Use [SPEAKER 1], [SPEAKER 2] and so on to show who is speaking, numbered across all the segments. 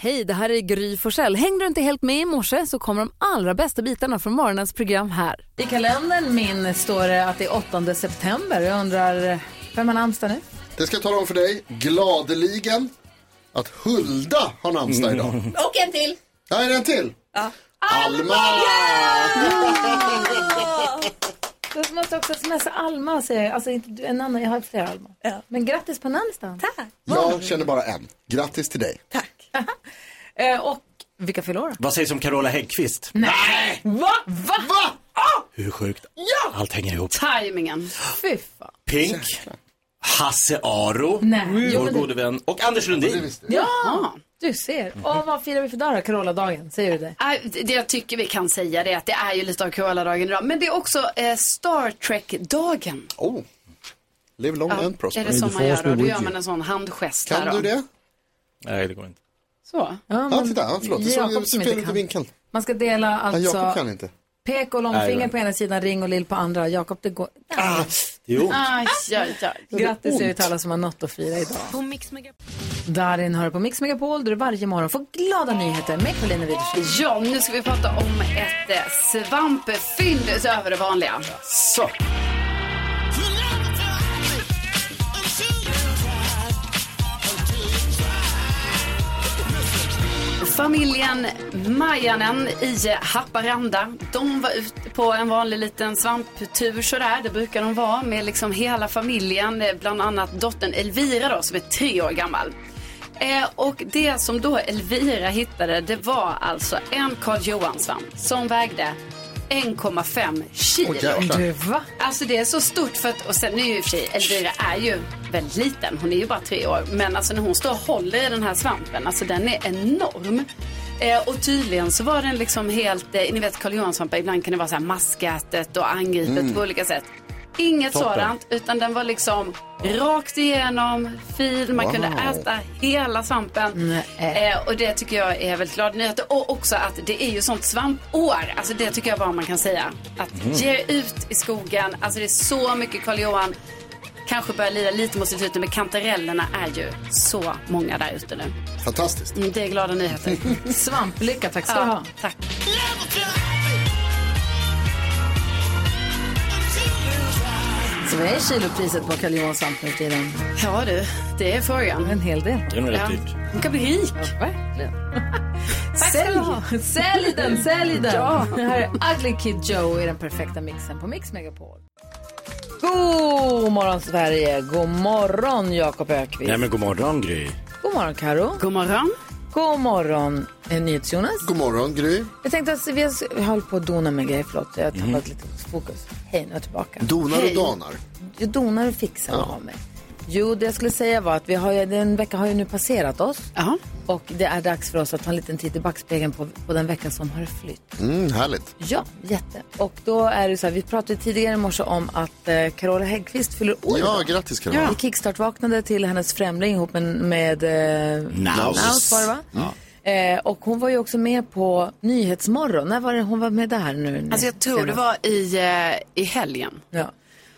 [SPEAKER 1] Hej, det här är Gry Forssell. Hängde du inte helt med i morse så kommer de allra bästa bitarna från morgonens program här. I kalendern min står det att det är 8 september. Jag undrar, vem har namnsdag nu?
[SPEAKER 2] Det ska jag tala om för dig, gladeligen, att Hulda har namnsdag idag.
[SPEAKER 3] Och en till.
[SPEAKER 2] Ja, är det en till?
[SPEAKER 3] Ja.
[SPEAKER 2] Alma!
[SPEAKER 1] Du måste också smsa Alma och säga, alltså inte du, en annan, jag har flera Alma.
[SPEAKER 3] Ja.
[SPEAKER 1] Men grattis på namnsdagen.
[SPEAKER 3] Tack.
[SPEAKER 2] Jag känner bara en. Grattis till dig.
[SPEAKER 3] Tack.
[SPEAKER 1] Eh, och vilka fyller år då?
[SPEAKER 4] Vad sägs om Carola Häggkvist?
[SPEAKER 1] Nej! Va? Va?
[SPEAKER 2] Va?
[SPEAKER 4] Hur sjukt? Allt hänger ihop.
[SPEAKER 5] Tajmingen.
[SPEAKER 1] Fy fan.
[SPEAKER 4] Pink, Hasse Aro,
[SPEAKER 1] Nej. Jo,
[SPEAKER 4] vår
[SPEAKER 1] men det-
[SPEAKER 4] gode vän, och Anders
[SPEAKER 2] Det
[SPEAKER 4] Lundin.
[SPEAKER 2] visste jag.
[SPEAKER 1] Ja, Mm. du ser. Och vad firar vi för dag då? Carola-dagen, säger du det?
[SPEAKER 5] Nej, Äh, Det det jag tycker vi kan säga det är att det är ju lite av koaladagen idag. Men det är också eh, Star Trek-dagen.
[SPEAKER 2] Oh. Live long and
[SPEAKER 5] är
[SPEAKER 2] prosper.
[SPEAKER 5] det som man gör då? Då gör man en sån handgest där
[SPEAKER 2] Kan du
[SPEAKER 5] då.
[SPEAKER 2] det?
[SPEAKER 4] Nej, det går inte.
[SPEAKER 5] Så.
[SPEAKER 1] Ja,
[SPEAKER 2] Ja, titta. Ja, förlåt. Det såg-
[SPEAKER 1] Jakob
[SPEAKER 2] Jag
[SPEAKER 1] som
[SPEAKER 2] såg fel
[SPEAKER 1] inte
[SPEAKER 2] ut i
[SPEAKER 1] kan.
[SPEAKER 2] vinkeln.
[SPEAKER 1] Man ska dela
[SPEAKER 2] Ja,
[SPEAKER 1] alltså...
[SPEAKER 2] Jakob kan inte.
[SPEAKER 1] Pek och
[SPEAKER 4] Nej,
[SPEAKER 1] långfinger
[SPEAKER 4] men-
[SPEAKER 1] på ena sidan, ring och lill på andra. Jakob, det går...
[SPEAKER 4] Ah, det är ont.
[SPEAKER 5] Aj, aj, aj.
[SPEAKER 1] Grattis säger vi till alla som har något att fira idag. På Mix Darin hör på Mix Megapol där du varje morgon får glada nyheter med Carolina Widerström.
[SPEAKER 5] Ja, nu ska vi prata om ett eh, svampfynd utöver det vanliga.
[SPEAKER 4] Så.
[SPEAKER 5] Familjen Majanen i Haparanda, de var ute på en vanlig liten svamptur sådär, det brukar de vara, med liksom hela familjen, eh, bland annat dottern Elvira då som är tre år gammal. Eh, och det som då Elvira hittade, det var alltså en Karl Johan-svamp som vägde 1,5 kilo.
[SPEAKER 2] Åh, jäklar.
[SPEAKER 1] Du, va?
[SPEAKER 5] Alltså det är så stort för att, och sen nu är ju i och för sig, Elvira är ju väldigt liten, hon är ju bara tre år. Men alltså när hon står och håller i den här svampen, alltså den är enorm. Eh, och tydligen så var den liksom helt, eh, ni vet Karl Johan-svampar, ibland kan det vara så här maskätet och angripet på olika sätt. Inget
[SPEAKER 4] Toppen.
[SPEAKER 5] sådant, utan den var liksom rakt igenom, fin, man kunde
[SPEAKER 2] Wow.
[SPEAKER 5] äta hela svampen.
[SPEAKER 1] Nej.
[SPEAKER 5] Eh, och det tycker jag är väldigt glad nyheter. Och också att det är ju sånt svampår. Alltså det tycker jag bara man kan säga. Att
[SPEAKER 4] Mm.
[SPEAKER 5] ge ut i skogen. Alltså det är så mycket Karl Johan. Kanske börjar lira lite mot sitt ute, men kantarellerna är ju så många där ute nu.
[SPEAKER 2] Fantastiskt.
[SPEAKER 5] Mm, det är glada nyheter.
[SPEAKER 1] Svamplycka, tack ska du
[SPEAKER 5] ja,
[SPEAKER 1] ha.
[SPEAKER 5] tack.
[SPEAKER 1] Så vad är kilopriset på Karl Johans svamp nu för tiden?
[SPEAKER 5] Ja du, det är frågan.
[SPEAKER 1] En hel del.
[SPEAKER 4] Det är typ- nog rätt
[SPEAKER 5] Ja.
[SPEAKER 4] dyrt.
[SPEAKER 5] Hon kan bli rik.
[SPEAKER 1] Verkligen.
[SPEAKER 5] ska du ha.
[SPEAKER 1] Sälj, sälj den, sälj den. Ja. Här är Ugly Kid Joe i den perfekta mixen på Mix Megapol. God morgon Sverige, god morgon Jakob Ökvist.
[SPEAKER 4] Nej, men god morgon, Gry.
[SPEAKER 1] God morgon Karo.
[SPEAKER 5] God morgon.
[SPEAKER 1] God morgon eh, NyhetsJonas.
[SPEAKER 2] God morgon, Gry.
[SPEAKER 1] Jag tänkte att vi har jag höll på att dona med grejer, förlåt jag har tappat lite fokus. Hej, nu är jag tillbaka.
[SPEAKER 2] Donar och danar.
[SPEAKER 1] Jag donar och fixar av mig. Jo, det jag skulle säga var att vi har ju, den vecka har ju nu passerat oss.
[SPEAKER 5] Ja.
[SPEAKER 1] Och det är dags för oss att ta en liten titt i backspegeln på, på den vecka som har flytt.
[SPEAKER 2] Mm, härligt.
[SPEAKER 1] Ja, jätte. Och då är det så här, vi pratade tidigare i morse om att eh, Carola Häggkvist fyller år.
[SPEAKER 2] Ja,
[SPEAKER 1] idag.
[SPEAKER 2] grattis Karin.
[SPEAKER 1] Vi kickstart-vaknade till hennes främling ihop med, med eh,
[SPEAKER 4] Naus.
[SPEAKER 1] Naus var det va? Eh, och hon var ju också med på Nyhetsmorgon. När var det hon var med där nu?
[SPEAKER 5] Alltså jag tror det
[SPEAKER 1] senast?
[SPEAKER 5] var i, eh, i helgen.
[SPEAKER 1] Ja.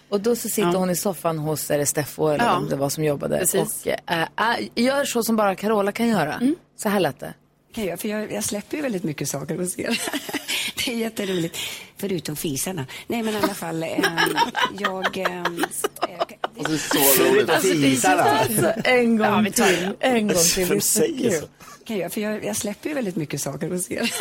[SPEAKER 1] Och då så sitter
[SPEAKER 5] Ja.
[SPEAKER 1] hon i soffan hos är det Steffo eller
[SPEAKER 5] Ja.
[SPEAKER 1] vem det var som jobbade.
[SPEAKER 5] Precis.
[SPEAKER 1] Och eh, eh, gör så som bara Carola kan göra. Så här lät det.
[SPEAKER 6] kan jag, för jag, jag släpper ju väldigt mycket saker hos er. Det är jätteroligt. Förutom fisarna. Nej men i alla fall, ehm, jag... ehm, s- eh, det-
[SPEAKER 2] Det är så roligt.
[SPEAKER 4] Alltså, det är
[SPEAKER 1] En gång
[SPEAKER 5] Ja, vi tar
[SPEAKER 1] till. En gång till. Det är
[SPEAKER 4] Vem
[SPEAKER 1] så
[SPEAKER 4] säger
[SPEAKER 1] kul.
[SPEAKER 4] så?
[SPEAKER 6] kan jag, för jag, jag släpper ju väldigt mycket saker hos er.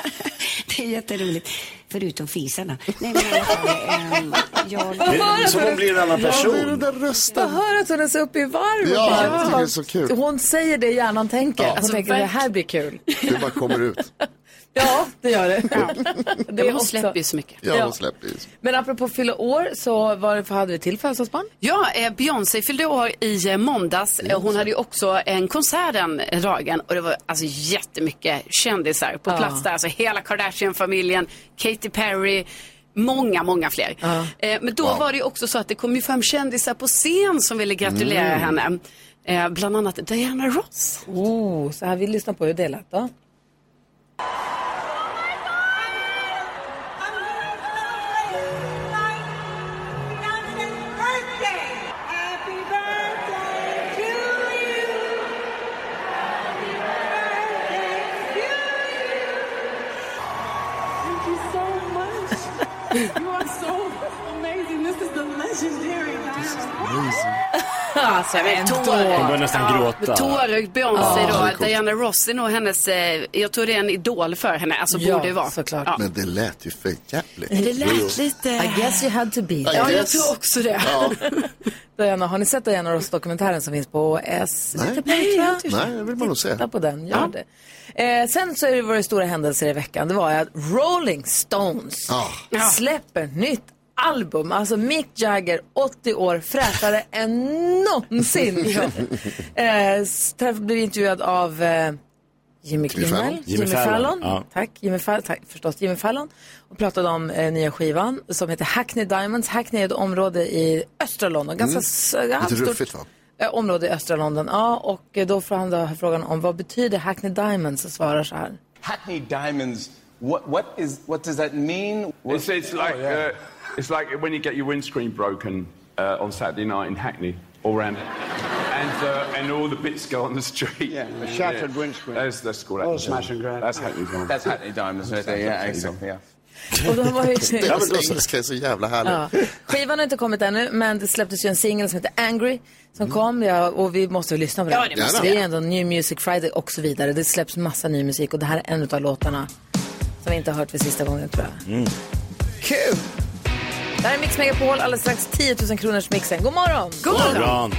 [SPEAKER 6] Det är jätteroligt. Förutom fisarna. Nej men i alla fall, ehm, jag...
[SPEAKER 4] Det är Som hon blir en annan
[SPEAKER 2] Vad är det
[SPEAKER 4] person.
[SPEAKER 2] där
[SPEAKER 1] Jag
[SPEAKER 2] rösten?
[SPEAKER 1] hör att hon är så uppe i varv.
[SPEAKER 2] Ja,
[SPEAKER 1] Bara,
[SPEAKER 2] jag tycker det är så kul.
[SPEAKER 1] Hon säger det hjärnan tänker. Hon
[SPEAKER 5] Alltså,
[SPEAKER 1] tänker det
[SPEAKER 5] verk-
[SPEAKER 1] här blir kul.
[SPEAKER 2] Det bara kommer ut.
[SPEAKER 1] Ja, det gör det. det är
[SPEAKER 5] Hon
[SPEAKER 1] också-
[SPEAKER 5] släpper ju så mycket.
[SPEAKER 2] Ja,
[SPEAKER 1] Ja.
[SPEAKER 2] de släpper ju.
[SPEAKER 1] Men apropå fylla år så varför hade vi till födelsedagsbarn?
[SPEAKER 5] Ja, eh, Beyoncé fyllde år i eh, måndags. Eh, Hon hade ju också en konsert den dagen och det var alltså jättemycket kändisar på
[SPEAKER 1] Ja.
[SPEAKER 5] plats där. Alltså hela Kardashian-familjen, Katy Perry, många, många fler. Eh, Men då var det ju också så att det kom ju fram kändisar på scen som ville gratulera
[SPEAKER 4] Mm.
[SPEAKER 5] henne. Eh, Bland annat Diana Ross.
[SPEAKER 1] Oh, så här vi lyssnar på hur det lät då.
[SPEAKER 3] You are so amazing. This is the legendary
[SPEAKER 5] Alltså, jag vet,
[SPEAKER 4] Hon börjar nästan gråta.
[SPEAKER 5] Tårögd Beyoncé
[SPEAKER 4] Ja, det är
[SPEAKER 5] då.
[SPEAKER 4] coolt.
[SPEAKER 5] Diana Ross är nog hennes, eh, jag tror det är en idol för henne. Alltså
[SPEAKER 1] Ja,
[SPEAKER 5] borde det vara.
[SPEAKER 1] såklart.
[SPEAKER 5] Ja.
[SPEAKER 2] Men det lät ju för jävligt.
[SPEAKER 5] Det lät
[SPEAKER 1] I
[SPEAKER 5] lite...
[SPEAKER 1] guess you had to be there.
[SPEAKER 5] Ja, jag
[SPEAKER 2] Yes.
[SPEAKER 5] tror också det.
[SPEAKER 2] Ja,
[SPEAKER 1] Diana, har ni sett Diana Ross-dokumentären som finns på S?
[SPEAKER 2] Nej.
[SPEAKER 1] Lite Play, tror jag.
[SPEAKER 2] nej, det vill man nog se.
[SPEAKER 1] Titta på den, gör det. Eh, sen så är det våra stora händelser i veckan. Det var ju att Rolling Stones
[SPEAKER 2] Ah.
[SPEAKER 5] Ja.
[SPEAKER 1] släpper nytt album. Alltså Mick Jagger, 80 år, fräschare än någonsin. Ja. Eh, träff- blev intervjuad av eh, Jimmy Kimmel,
[SPEAKER 2] Fallon.
[SPEAKER 1] Jimmy, Fallon,
[SPEAKER 4] ja.
[SPEAKER 1] tack, Jimmy Fallon, tack, förstås Jimmy Fallon och pratade om eh, nya skivan som heter Hackney Diamonds. Hackney är ett område i östra London, ganska s- halvstort
[SPEAKER 2] Mm. ruffigt, va?
[SPEAKER 1] eh, område i östra London. Ja, och eh, då får han då frågan om vad betyder Hackney Diamonds och svarar så här.
[SPEAKER 7] Hackney Diamonds. What what is what does that mean? Oh,
[SPEAKER 8] It's, it's like uh, it's like when you get your windscreen broken uh, on Saturday night in Hackney all round, and uh, and all the bits go on the street.
[SPEAKER 7] Yeah, a shattered windscreen. Oh,
[SPEAKER 8] That's, that's called Hackney.
[SPEAKER 7] smash and grab.
[SPEAKER 8] That's Hackney's one.
[SPEAKER 7] That's Hackney Diamonds. right there, yeah, exactly. Yeah.
[SPEAKER 1] Och då var ju
[SPEAKER 2] Alltså, engelska är så jävla härligt.
[SPEAKER 1] Ja. Skivan har inte kommit ännu, men det släpptes ju en singel som heter Angry som kom ja, och vi måste väl lyssna på den.
[SPEAKER 5] Ja, det
[SPEAKER 2] måste
[SPEAKER 1] det
[SPEAKER 2] vi.
[SPEAKER 1] är ändå New Music Friday och så vidare. Det släpps massa ny musik och det här är en av låtarna som vi inte har hört för sista gången tror jag. Kul! Det här är Mix Megapol, alldeles strax 10 000 kronors mixen. God morgon! God
[SPEAKER 4] Bra.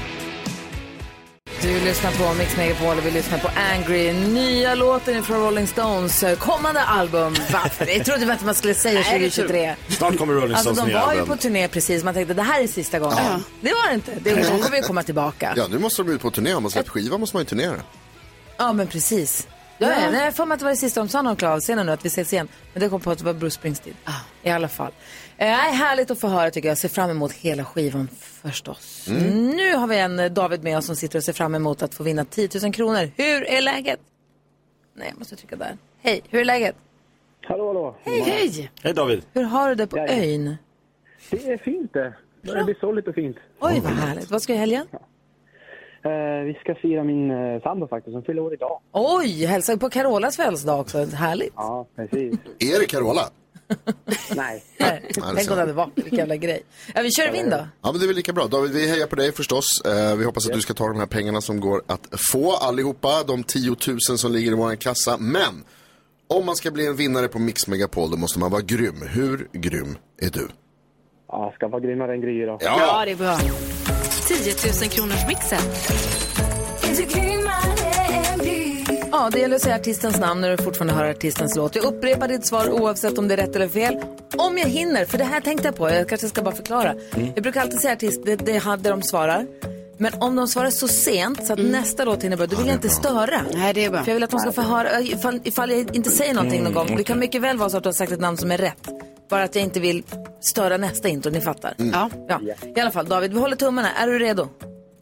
[SPEAKER 1] Du lyssnar på Mix Megapol och vi lyssnar på Angry. Nya låten från Rolling Stones eh, kommande album. Varför? Jag trodde väl inte man skulle säga 2023.
[SPEAKER 4] Snart kommer Rolling
[SPEAKER 1] Alltså
[SPEAKER 4] Stones
[SPEAKER 1] de
[SPEAKER 4] nya
[SPEAKER 1] var ju
[SPEAKER 4] album.
[SPEAKER 1] på turné precis. Man tänkte det här är sista gången. Det var det inte. Det, de kommer ju komma tillbaka. Ja,
[SPEAKER 2] Ja, nu måste de ut på turné. Om man släppt skiva måste man ju turnera.
[SPEAKER 1] men precis. Ja, ja. Nej, jag får mig att det var det sista de sa när de klev av scenen nu, att vi ses igen. Men det kom på att det var Bruce Springsteen. I alla fall. Eh, härligt att få höra tycker jag. Jag ser fram emot hela skivan förstås. Nu har vi en eh, David med oss som sitter och ser fram emot att få vinna 10 000 kronor. Hur är läget? Nej, jag måste trycka där. Hej, hur är läget?
[SPEAKER 9] Hallå, hallå.
[SPEAKER 5] Hej!
[SPEAKER 1] Alltså-
[SPEAKER 4] Hej David.
[SPEAKER 1] Hur har du det på ön?
[SPEAKER 9] Det är fint det. Det blir soligt och fint.
[SPEAKER 1] Oj, vad härligt. Vad ska du i helgen?
[SPEAKER 9] Eh, vi ska fira min eh, sambo faktiskt, som fyller år idag.
[SPEAKER 1] Oj, hälsa på Carolas födelsedag också. Härligt.
[SPEAKER 9] Ja, precis.
[SPEAKER 2] Är det Carola?
[SPEAKER 9] Nej.
[SPEAKER 1] Nej,
[SPEAKER 2] det är
[SPEAKER 1] Tänk om
[SPEAKER 2] sant.
[SPEAKER 1] det hade varit, vilken jävla grej. Ja, vi kör in då.
[SPEAKER 2] Ja, men det är väl lika bra. David, vi hejar på dig förstås. Eh, vi hoppas att du ska ta de här pengarna som går att få allihopa, de 10 000 som ligger i vår kassa. Men om man ska bli en vinnare på Mix Megapol, då måste man vara grym. Hur grym är du?
[SPEAKER 9] Ja, ska vara grymmare än Gry idag.
[SPEAKER 5] Ja, det är bra.
[SPEAKER 4] Mm.
[SPEAKER 10] 10 000 kronors mixen.
[SPEAKER 1] Ja, det gäller att säga artistens namn när du fortfarande hör artistens låt. Jag upprepar ditt svar oavsett om det är rätt eller fel. Om jag hinner, för det här tänkte jag på, jag kanske ska bara förklara.
[SPEAKER 5] Mm.
[SPEAKER 1] Jag brukar alltid säga artist, det, det, det de svarar. Men om de svarar så sent så att
[SPEAKER 5] Mm.
[SPEAKER 1] nästa låt hinner börja, då vill jag inte störa.
[SPEAKER 5] Nej, det är bra. Mm,
[SPEAKER 1] För jag vill att de ska få höra, ifall, ifall jag inte säger någonting någon gång. Det kan mycket väl vara så att du har sagt ett namn som är rätt. Bara att jag inte vill störa nästa intro, ni fattar.
[SPEAKER 5] Ja.
[SPEAKER 1] Ja. I alla fall, David, vi håller tummarna. Är du redo?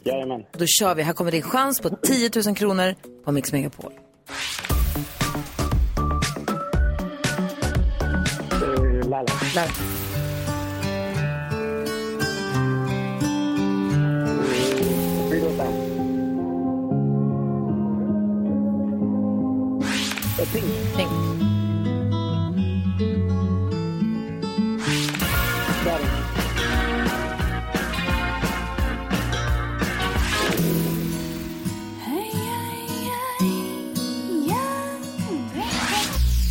[SPEAKER 9] Jajamän.
[SPEAKER 1] Då kör vi. Här kommer din chans på 10 000 kronor på Mix Megapol.
[SPEAKER 9] Eh, Lala.
[SPEAKER 1] Där.
[SPEAKER 9] Fyll åt den. Eh, Pink.
[SPEAKER 1] Pink.
[SPEAKER 9] Där.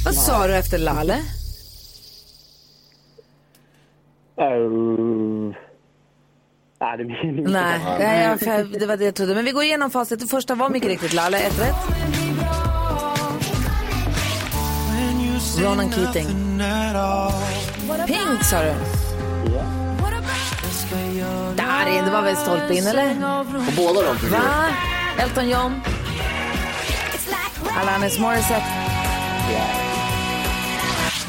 [SPEAKER 1] Vad sa du efter Lalle?
[SPEAKER 9] Eh, Äh, Nej, det blir inget.
[SPEAKER 1] Nej, nej jag, för- det var det jag trodde. Men vi går igenom facit. Det första var mycket riktigt Lalle, ett rätt. Ronan Keating. Pink sa du. Darin, det var väl stolpe in eller?
[SPEAKER 2] Och båda de tycker jag.
[SPEAKER 1] Va? Ah, Elton John. Alanis Morissette.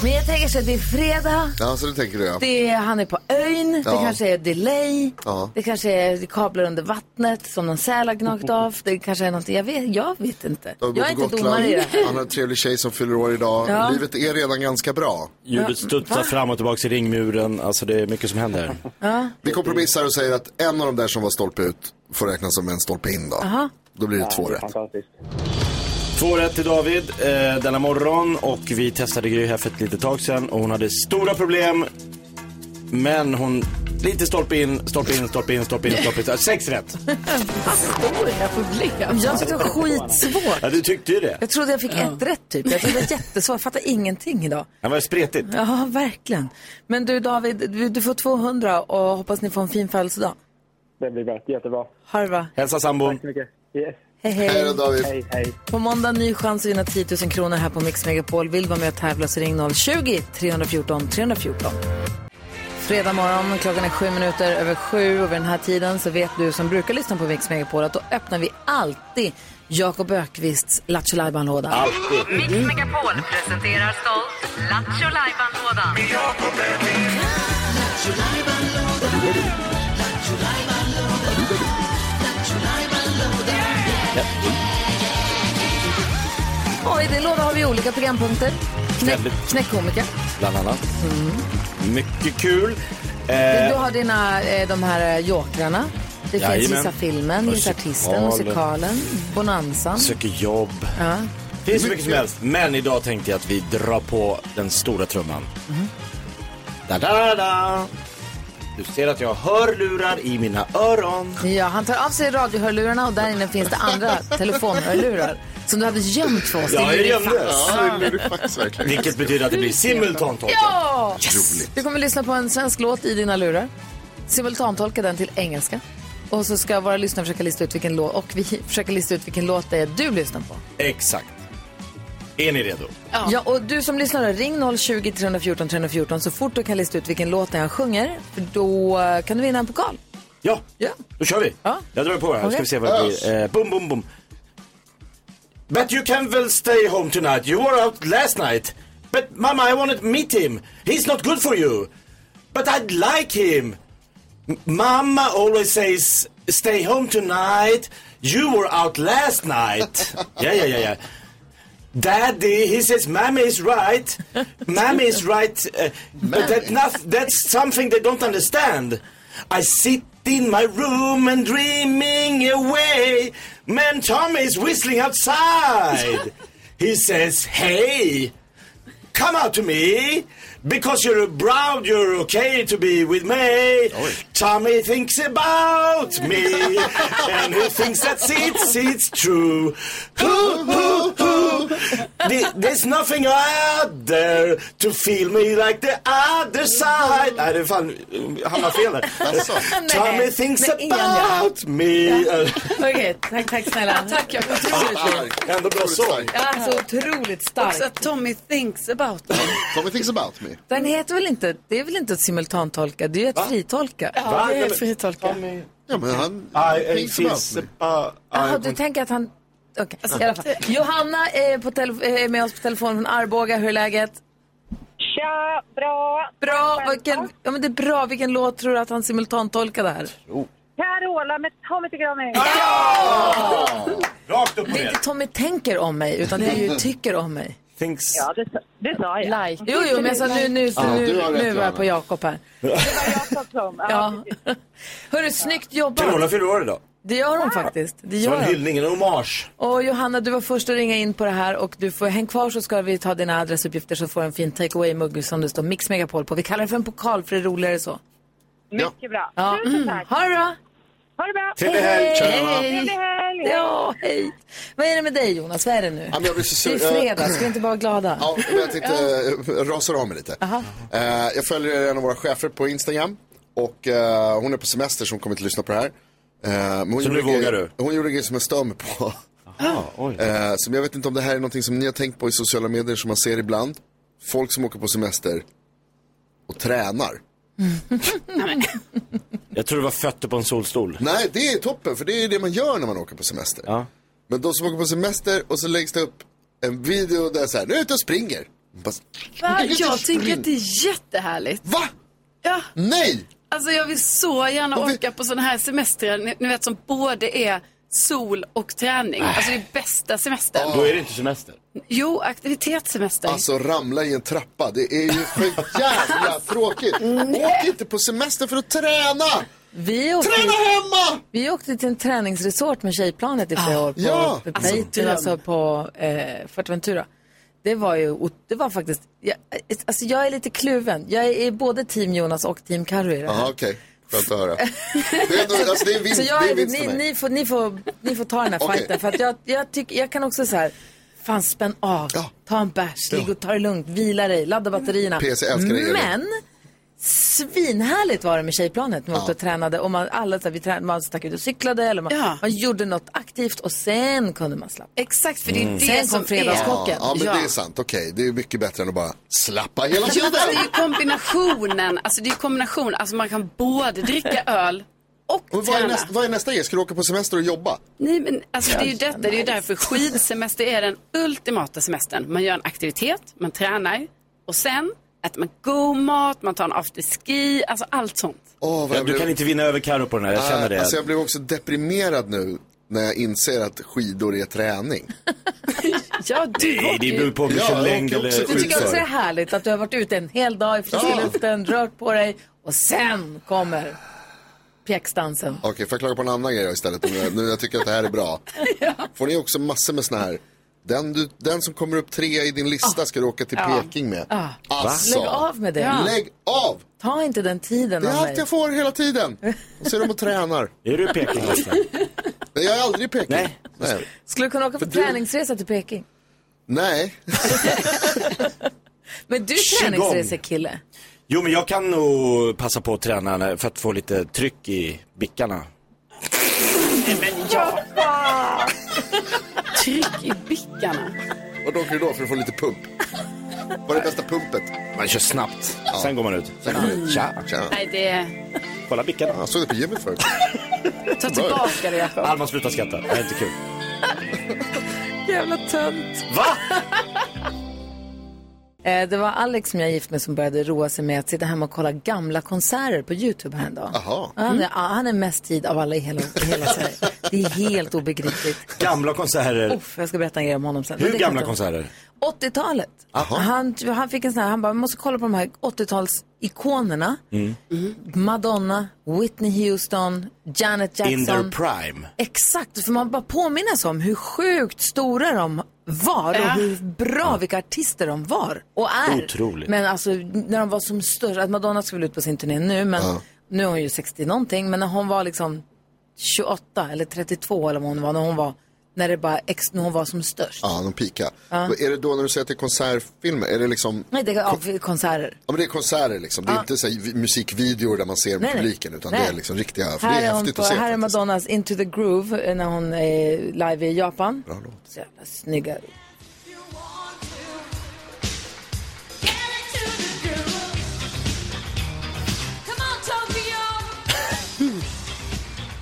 [SPEAKER 1] Men jag tänker så att det är fredag.
[SPEAKER 2] Ja, så det tänker du ja.
[SPEAKER 1] Det är, han är på ön, det
[SPEAKER 2] Ja.
[SPEAKER 1] kanske är delay,
[SPEAKER 2] Ja.
[SPEAKER 1] det kanske är kablar under vattnet som någon säl har gnagt av. Det kanske är någonting, jag vet, jag vet inte.
[SPEAKER 2] David
[SPEAKER 1] Jag är
[SPEAKER 2] bor på
[SPEAKER 1] inte domare i det här.
[SPEAKER 2] Han har en trevlig tjej som fyller år idag.
[SPEAKER 1] Ja.
[SPEAKER 2] Livet är redan ganska bra.
[SPEAKER 4] Ljudet studsar fram och tillbaka i ringmuren. Alltså det är mycket som händer.
[SPEAKER 2] Vi kompromissar och säger att en av de där som var stolpe ut får räknas som en stolpe in då. Då blir det två
[SPEAKER 9] Det är
[SPEAKER 2] rätt.
[SPEAKER 9] Fantastiskt.
[SPEAKER 4] Två rätt till David eh, denna morgon och vi testade Gry här för ett litet tag sedan och hon hade stora problem. Men hon, lite stolpe in, stolpe in, stolpe in, stolpe in, stolpe in. Sex rätt.
[SPEAKER 1] Stora problem. Jag tyckte det var skitsvårt.
[SPEAKER 4] Ja, du tyckte ju det.
[SPEAKER 1] Jag trodde jag fick ett rätt typ. Jag tyckte det var jättesvårt. Jag fattar ingenting idag.
[SPEAKER 4] Det var spretigt.
[SPEAKER 1] Ja, verkligen. Men du David, du, du får 200 och hoppas ni får en fin födelsedag.
[SPEAKER 9] Det blir bra. Jättebra.
[SPEAKER 1] Harva.
[SPEAKER 4] Hälsa sambon.
[SPEAKER 9] Tack så mycket. Yes.
[SPEAKER 1] Hej, hej.
[SPEAKER 9] Hej då, David. Hej, hej.
[SPEAKER 1] På måndag ny chans att vinna 10 000 kronor här på Mix Megapol. Vill vara med och tävla så ring 020 314 314. Fredag morgon, klockan är sju minuter över sju och vid den här tiden så vet du som brukar lyssna på Mix Megapol att då öppnar vi alltid Jakob Ökvists Lattjo Lajban-låda.
[SPEAKER 10] Mix Megapol presenterar stolt Lattjo Lajban-lådan.
[SPEAKER 1] Och i det låda har vi olika programpunkter. Knäck,
[SPEAKER 4] Väldigt.
[SPEAKER 1] knäckkomiker.
[SPEAKER 4] Bland annat. Mycket kul.
[SPEAKER 1] Du
[SPEAKER 4] Eh,
[SPEAKER 1] har dina, eh, de här eh, jokrarna. Det finns
[SPEAKER 4] Jajamän.
[SPEAKER 1] Gissa filmen, Gissa artisten,
[SPEAKER 4] Musikalen.
[SPEAKER 1] musikalen, Bonanzan.
[SPEAKER 4] söker jobb.
[SPEAKER 1] Ja.
[SPEAKER 4] Det finns så mycket som helst. Men idag tänkte jag att vi drar på den stora trumman. Da, da, da. Du ser att jag har hörlurar i mina öron.
[SPEAKER 1] Ja, han tar av sig radiohörlurarna och där inne finns det andra telefonhörlurar som du hade gömt för oss.
[SPEAKER 4] Ja, jag gömde.
[SPEAKER 1] Ja.
[SPEAKER 4] Vilket betyder att det blir simultantolkat.
[SPEAKER 1] ja! Du kommer lyssna på en svensk låt i dina lurar, simultantolka den till engelska och så ska våra lyssnare försöka lista ut vilken låt och vi försöker lista ut vilken låt det är du lyssnar på.
[SPEAKER 4] Exakt. Är ni redo?
[SPEAKER 1] Ja. och du som lyssnar, ring 020 314 314 så fort du kan lista ut vilken låt det är han sjunger. För då eh, kan du vinna en pokal.
[SPEAKER 4] Ja,
[SPEAKER 1] Ja.
[SPEAKER 4] då kör vi.
[SPEAKER 1] Ja.
[SPEAKER 4] Jag drar på här,
[SPEAKER 1] Okej.
[SPEAKER 4] ska vi se vad det blir. Eh, boom, boom, boom. But you can well stay home tonight. You were out last night. But mama, I want to meet him. He's not good for you. But I'd like him. M- Mamma always says stay home tonight. You were out last night. yeah, yeah, yeah, yeah. Daddy, he says mammy is right. Mammy is right. Uh, but that noth- that's something they don't understand. I sit in my room and dreaming away. Man, Tommy is whistling outside. he says, hey, come out to me. Because you're proud, you're okay to be with me. Tommy thinks about me. and he thinks that it's, it's true. Hoo, hoo, hoo. The- There's nothing out there to feel me like the other side. Nej, det er um, är fan, hamnar fel där. Tommy thinks
[SPEAKER 1] Nej, ingen, ja.
[SPEAKER 4] about me.
[SPEAKER 1] Okej, tack, tack snälla.
[SPEAKER 5] Tack, jag
[SPEAKER 4] Ändå bra sång.
[SPEAKER 1] Ja, så otroligt starkt.
[SPEAKER 5] Också att Tommy thinks about me.
[SPEAKER 2] Tommy thinks about me.
[SPEAKER 1] Den heter väl inte, det är väl inte att simultantolka, det är ju att fritolka.
[SPEAKER 4] Va?
[SPEAKER 5] Det
[SPEAKER 1] er
[SPEAKER 5] är fritolka.
[SPEAKER 2] Ja, men han
[SPEAKER 4] I, I
[SPEAKER 2] thinks about me.
[SPEAKER 1] Jaha, du tänker att han... Okej,
[SPEAKER 5] Alltså,
[SPEAKER 1] i alla fall. Johanna är, på tele- är med oss på telefon från Arboga. Hur är läget?
[SPEAKER 11] Tja, bra.
[SPEAKER 1] Bra. Vilken, ja, men det är bra. Vilken låt tror du att han simultantolkade här?
[SPEAKER 11] Carola med Tommy tycker om mig.
[SPEAKER 4] Rakt upp och
[SPEAKER 1] Det är
[SPEAKER 4] ner.
[SPEAKER 1] inte Tommy tänker om mig, utan det är ju tycker om mig.
[SPEAKER 4] Thinks...
[SPEAKER 11] Ja, det, sa- det sa jag.
[SPEAKER 1] Like. Jo, jo, men jag sa nu, nu, nu,
[SPEAKER 2] du har rätt,
[SPEAKER 1] nu var jag
[SPEAKER 2] Johanna.
[SPEAKER 1] på Jakob här.
[SPEAKER 11] Det var jag som kom. Ja.
[SPEAKER 1] Ja. Hörru, snyggt
[SPEAKER 4] Carola
[SPEAKER 1] jobbat.
[SPEAKER 4] fyller år idag.
[SPEAKER 1] Det gör hon faktiskt. Det
[SPEAKER 4] Det
[SPEAKER 1] gör
[SPEAKER 4] var en
[SPEAKER 1] hon.
[SPEAKER 4] hyllning, en hommage.
[SPEAKER 1] Och Johanna, du var först att ringa in på det här och du får häng kvar så ska vi ta dina adressuppgifter så får du en fin takeaway-mugg som det står Mix Megapol på. Vi kallar det för en pokal för det är roligare så.
[SPEAKER 11] Mycket bra.
[SPEAKER 1] Ja.
[SPEAKER 11] Tusen
[SPEAKER 1] Mm.
[SPEAKER 11] tack.
[SPEAKER 1] Ha det bra!
[SPEAKER 11] Ha det bra.
[SPEAKER 4] Trevlig helg.
[SPEAKER 11] Trevlig helg.
[SPEAKER 1] Ja, hej! Vad är det med dig Jonas? Vad är det nu?
[SPEAKER 2] Ja, men jag blir så
[SPEAKER 1] Det
[SPEAKER 2] sur.
[SPEAKER 1] är fredag, ska vi inte bara vara glada?
[SPEAKER 2] Ja, men jag tänkte eh, rasar av mig lite. Eh, jag följer en av våra chefer på Instagram och eh, hon är på semester så hon kommer inte lyssna på det här. Eh, men hon
[SPEAKER 4] Så nu
[SPEAKER 2] gjorde en
[SPEAKER 4] vågar
[SPEAKER 2] grej-
[SPEAKER 4] du?
[SPEAKER 2] Hon gjorde en grej som jag stör mig på. Eh, som jag vet inte om det här är någonting som ni har tänkt på i sociala medier som man ser ibland. Folk som åker på semester och tränar.
[SPEAKER 4] Jag tror det var fötter på en solstol.
[SPEAKER 2] Nej, det är toppen för det är det man gör när man åker på semester.
[SPEAKER 4] Ja.
[SPEAKER 2] Men de som åker på semester och så läggs det upp en video där så här, nu är jag ute och springer. Bara,
[SPEAKER 5] Va?
[SPEAKER 2] "Nu är jag ute och
[SPEAKER 5] Jag tycker
[SPEAKER 2] springer."
[SPEAKER 5] att det är jättehärligt.
[SPEAKER 2] Va?
[SPEAKER 5] Ja.
[SPEAKER 2] Nej!
[SPEAKER 5] Alltså jag vill så gärna
[SPEAKER 2] Och vi-
[SPEAKER 5] åka på sådana här semestrar, ni, ni vet som både är sol och träning. Alltså det är bästa semestern.
[SPEAKER 4] Då är det inte semester.
[SPEAKER 5] Jo, aktivitetssemester.
[SPEAKER 2] Ah. Alltså ramla i en trappa, det är ju för jävla tråkigt. Åk inte på semester för att träna!
[SPEAKER 1] Vi åkte,
[SPEAKER 2] Träna hemma!
[SPEAKER 1] vi åkte till en träningsresort med tjejplanet i flera år på
[SPEAKER 2] Ja.
[SPEAKER 1] Bejten, alltså, på eh, Fuerteventura. Det var ju, o- det var faktiskt, jag, alltså jag är lite kluven. Jag är både team Jonas och team Carro i det här.
[SPEAKER 2] Jaha, okej. Skönt att höra. Det är, ändå- alltså, det är vinst,
[SPEAKER 1] så jag,
[SPEAKER 2] det är vinst för
[SPEAKER 1] ni,
[SPEAKER 2] mig.
[SPEAKER 1] ni, får, ni, får, ni får ta den här
[SPEAKER 2] Okej.
[SPEAKER 1] fighten. För att jag, jag, tycker, jag kan också så här, fan spänn av, ta en bärs, ligg och ta det lugnt, vila dig, ladda batterierna.
[SPEAKER 2] PC älskar det, Elin.
[SPEAKER 1] Men svinhärligt var det med tjejplanet. Man åkte och tränade och man, alla, så här, vi tränade, man stack ut och cyklade eller man, man gjorde något aktivt och sen kunde man slappna.
[SPEAKER 5] Exakt, för det är
[SPEAKER 2] Mm.
[SPEAKER 5] det
[SPEAKER 1] Sen kom
[SPEAKER 5] som
[SPEAKER 2] Ja,
[SPEAKER 5] är...
[SPEAKER 2] ja, men det är sant. Okej, det är mycket bättre än att bara slappa hela
[SPEAKER 5] Ja,
[SPEAKER 2] tiden.
[SPEAKER 5] det är ju kombinationen. Alltså det är ju kombination. Alltså man kan både dricka öl och
[SPEAKER 2] Men vad, är
[SPEAKER 5] träna.
[SPEAKER 2] nästa, vad är nästa grej? Ska du åka på semester och jobba?
[SPEAKER 5] Nej, men alltså det är ju detta. Det är ju därför skidsemester är den ultimata semestern. Man gör en aktivitet, man tränar och sen äter man god mat, man tar en afterski, alltså allt sånt.
[SPEAKER 2] Åh, vad
[SPEAKER 4] Ja,
[SPEAKER 2] jag
[SPEAKER 4] du
[SPEAKER 2] blev-
[SPEAKER 4] kan inte vinna över Karo på den här, jag känner
[SPEAKER 2] Nej,
[SPEAKER 4] det.
[SPEAKER 2] Alltså jag blev också deprimerad nu när jag inser att skidor är träning.
[SPEAKER 1] Ja, du
[SPEAKER 4] Nej,
[SPEAKER 1] åker
[SPEAKER 4] det
[SPEAKER 1] ju-
[SPEAKER 4] beror på vilken
[SPEAKER 2] Ja, jag
[SPEAKER 4] längd
[SPEAKER 2] åker
[SPEAKER 4] eller
[SPEAKER 2] också.
[SPEAKER 1] Du tycker också det är
[SPEAKER 4] skidor.
[SPEAKER 1] härligt att du har varit ute en hel dag i frisk
[SPEAKER 2] Ja.
[SPEAKER 1] luften, rört på dig och sen kommer pjäxdansen.
[SPEAKER 2] Okej, får jag klaga på en annan grej då istället? om jag- Nu när jag tycker att det här är bra. Får ni också massor med såna här, den, du, den som kommer upp tre i din lista ska du åka till
[SPEAKER 1] Ah. Ja.
[SPEAKER 2] Peking med.
[SPEAKER 1] Ah.
[SPEAKER 2] Alltså.
[SPEAKER 1] Lägg av med det.
[SPEAKER 2] Ja. Lägg av!
[SPEAKER 1] Ta inte den tiden
[SPEAKER 2] Det är
[SPEAKER 1] av mig.
[SPEAKER 2] allt jag får hela tiden. Och så är de och tränar.
[SPEAKER 4] Är du i Peking nästa?
[SPEAKER 2] Nej, jag är aldrig i Peking. Nej. Nej.
[SPEAKER 1] Skulle du kunna åka på
[SPEAKER 2] För du-
[SPEAKER 1] träningsresa till Peking?
[SPEAKER 2] Nej.
[SPEAKER 1] Men du är
[SPEAKER 4] Qigong.
[SPEAKER 1] träningsresekille.
[SPEAKER 4] Jo, men jag kan nog passa på att träna när- för att få lite tryck i bickarna.
[SPEAKER 5] Tryck i bickarna.
[SPEAKER 2] Vad åker du då för att få lite pump? Vad är det bästa pumpet?
[SPEAKER 4] Man kör snabbt, sen går man ut.
[SPEAKER 2] Sen går man ut.
[SPEAKER 4] Tja,
[SPEAKER 2] Tja.
[SPEAKER 5] Nej, det är...
[SPEAKER 4] kolla bickarna.
[SPEAKER 2] Jag såg det på gymmet förut.
[SPEAKER 5] Ta tillbaka det, Jakob.
[SPEAKER 4] Alma, sluta skratta. Det här är inte kul.
[SPEAKER 1] Jävla tönt.
[SPEAKER 4] Va?
[SPEAKER 1] Eh, Det var Alex som jag är gift med som började roa sig med att sitta hemma och kolla gamla konserter på YouTube häromdagen.
[SPEAKER 2] Jaha.
[SPEAKER 1] Ja, Han är, han är mest tid av alla i hela, i hela Sverige. Det är helt obegripligt.
[SPEAKER 4] Gamla konserter.
[SPEAKER 1] Uff, jag ska berätta en grej om honom sen. Men
[SPEAKER 4] Hur
[SPEAKER 1] det kan
[SPEAKER 4] gamla
[SPEAKER 1] jag ta.
[SPEAKER 4] konserter?
[SPEAKER 1] 80-talet. Han, han fick en sån här, han bara, man måste kolla på de här 80-talsikonerna.
[SPEAKER 4] Mm.
[SPEAKER 1] Madonna, Whitney Houston, Janet
[SPEAKER 4] In their
[SPEAKER 1] Jackson.
[SPEAKER 4] prime.
[SPEAKER 1] Exakt, för man bara påminnas om hur sjukt stora de var och
[SPEAKER 5] Ja.
[SPEAKER 1] hur bra, vilka artister de var och är.
[SPEAKER 4] Otroligt.
[SPEAKER 1] Men alltså när de var som störst, att Madonna ska väl ut på sin turné nu, men nu är hon ju 60 någonting, men när hon var liksom 28 eller 32 eller vad hon var, när hon var, när det bara, ex, när hon var som störst.
[SPEAKER 2] Ja, de pika.
[SPEAKER 1] Ja.
[SPEAKER 2] Vad Är det då när du säger att det är konsertfilmer? Är det liksom...
[SPEAKER 1] Nej, det är ja, konserter.
[SPEAKER 2] Ja, men det är konserter liksom. Det är inte så här vi- musikvideor där man ser
[SPEAKER 1] Nej, nej.
[SPEAKER 2] publiken utan
[SPEAKER 1] Nej.
[SPEAKER 2] det är liksom riktiga. För det
[SPEAKER 1] Här
[SPEAKER 2] är
[SPEAKER 1] är, hon
[SPEAKER 2] häftigt
[SPEAKER 1] på,
[SPEAKER 2] att se.
[SPEAKER 1] här är
[SPEAKER 2] faktiskt.
[SPEAKER 1] Madonnas Into the Groove eh, när hon är live i Japan.
[SPEAKER 2] Bra låt.
[SPEAKER 1] Så jävla snygga.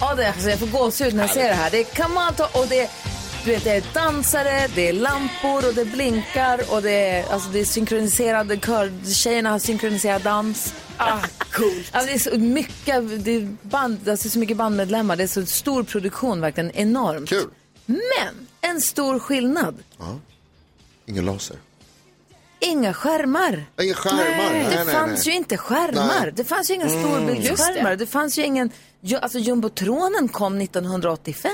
[SPEAKER 1] Ja, det, alltså, jag får gåshud när jag ser det här. Det är Kamata och det är, du vet, det är dansare, det är lampor och det blinkar och det är, alltså, det är synkroniserade kör. Tjejerna har synkroniserad dans. Ah, coolt. Alltså, det är så mycket, det är band, alltså, så mycket bandmedlemmar. Det är så stor produktion, verkligen enormt.
[SPEAKER 2] Kul.
[SPEAKER 1] Men en stor skillnad.
[SPEAKER 2] Ja. Ingen laser.
[SPEAKER 1] Inga skärmar.
[SPEAKER 2] Inga skärmar. Nej,
[SPEAKER 1] det
[SPEAKER 2] nej, nej.
[SPEAKER 1] fanns ju inte skärmar.
[SPEAKER 2] Nej.
[SPEAKER 1] Det fanns ju inga
[SPEAKER 2] Mm.
[SPEAKER 1] storbildsskärmar. Det. fanns ju ingen... ju- Alltså jumbotronen kom 1985.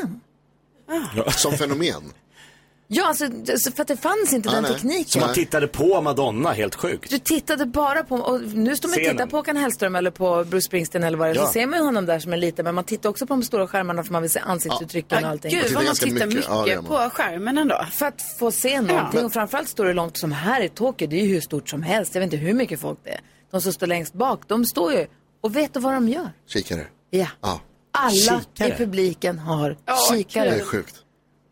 [SPEAKER 2] Som fenomen.
[SPEAKER 1] Ja, alltså det- så för att det fanns inte
[SPEAKER 4] Ja,
[SPEAKER 1] den
[SPEAKER 4] nej. Så
[SPEAKER 1] tekniken.
[SPEAKER 4] man tittade på Madonna, helt sjukt.
[SPEAKER 1] Du tittade bara på... Och nu står man och
[SPEAKER 4] Scenen.
[SPEAKER 1] tittar på Håkan Hellström eller på Bruce Springsteen eller vad det är.
[SPEAKER 4] Ja.
[SPEAKER 1] Så ser man ju honom där som är liten. Men man tittar också på de stora skärmarna för man vill se ansiktsuttrycken och
[SPEAKER 5] Ja,
[SPEAKER 1] allting.
[SPEAKER 5] Gud, vad man tittar mycket,
[SPEAKER 2] Ja, det gör man.
[SPEAKER 5] på skärmen ändå.
[SPEAKER 1] För att få se någonting. Och framförallt står det långt som här i Tokyo. Det är ju hur stort som helst. Jag vet inte hur mycket folk det är. De som står längst bak, de står ju och vet du vad de gör?
[SPEAKER 2] Kikare.
[SPEAKER 1] Ja.
[SPEAKER 2] Ja.
[SPEAKER 1] Alla i
[SPEAKER 4] Kikare.
[SPEAKER 1] publiken har
[SPEAKER 2] Det
[SPEAKER 1] kikare.
[SPEAKER 2] är sjukt.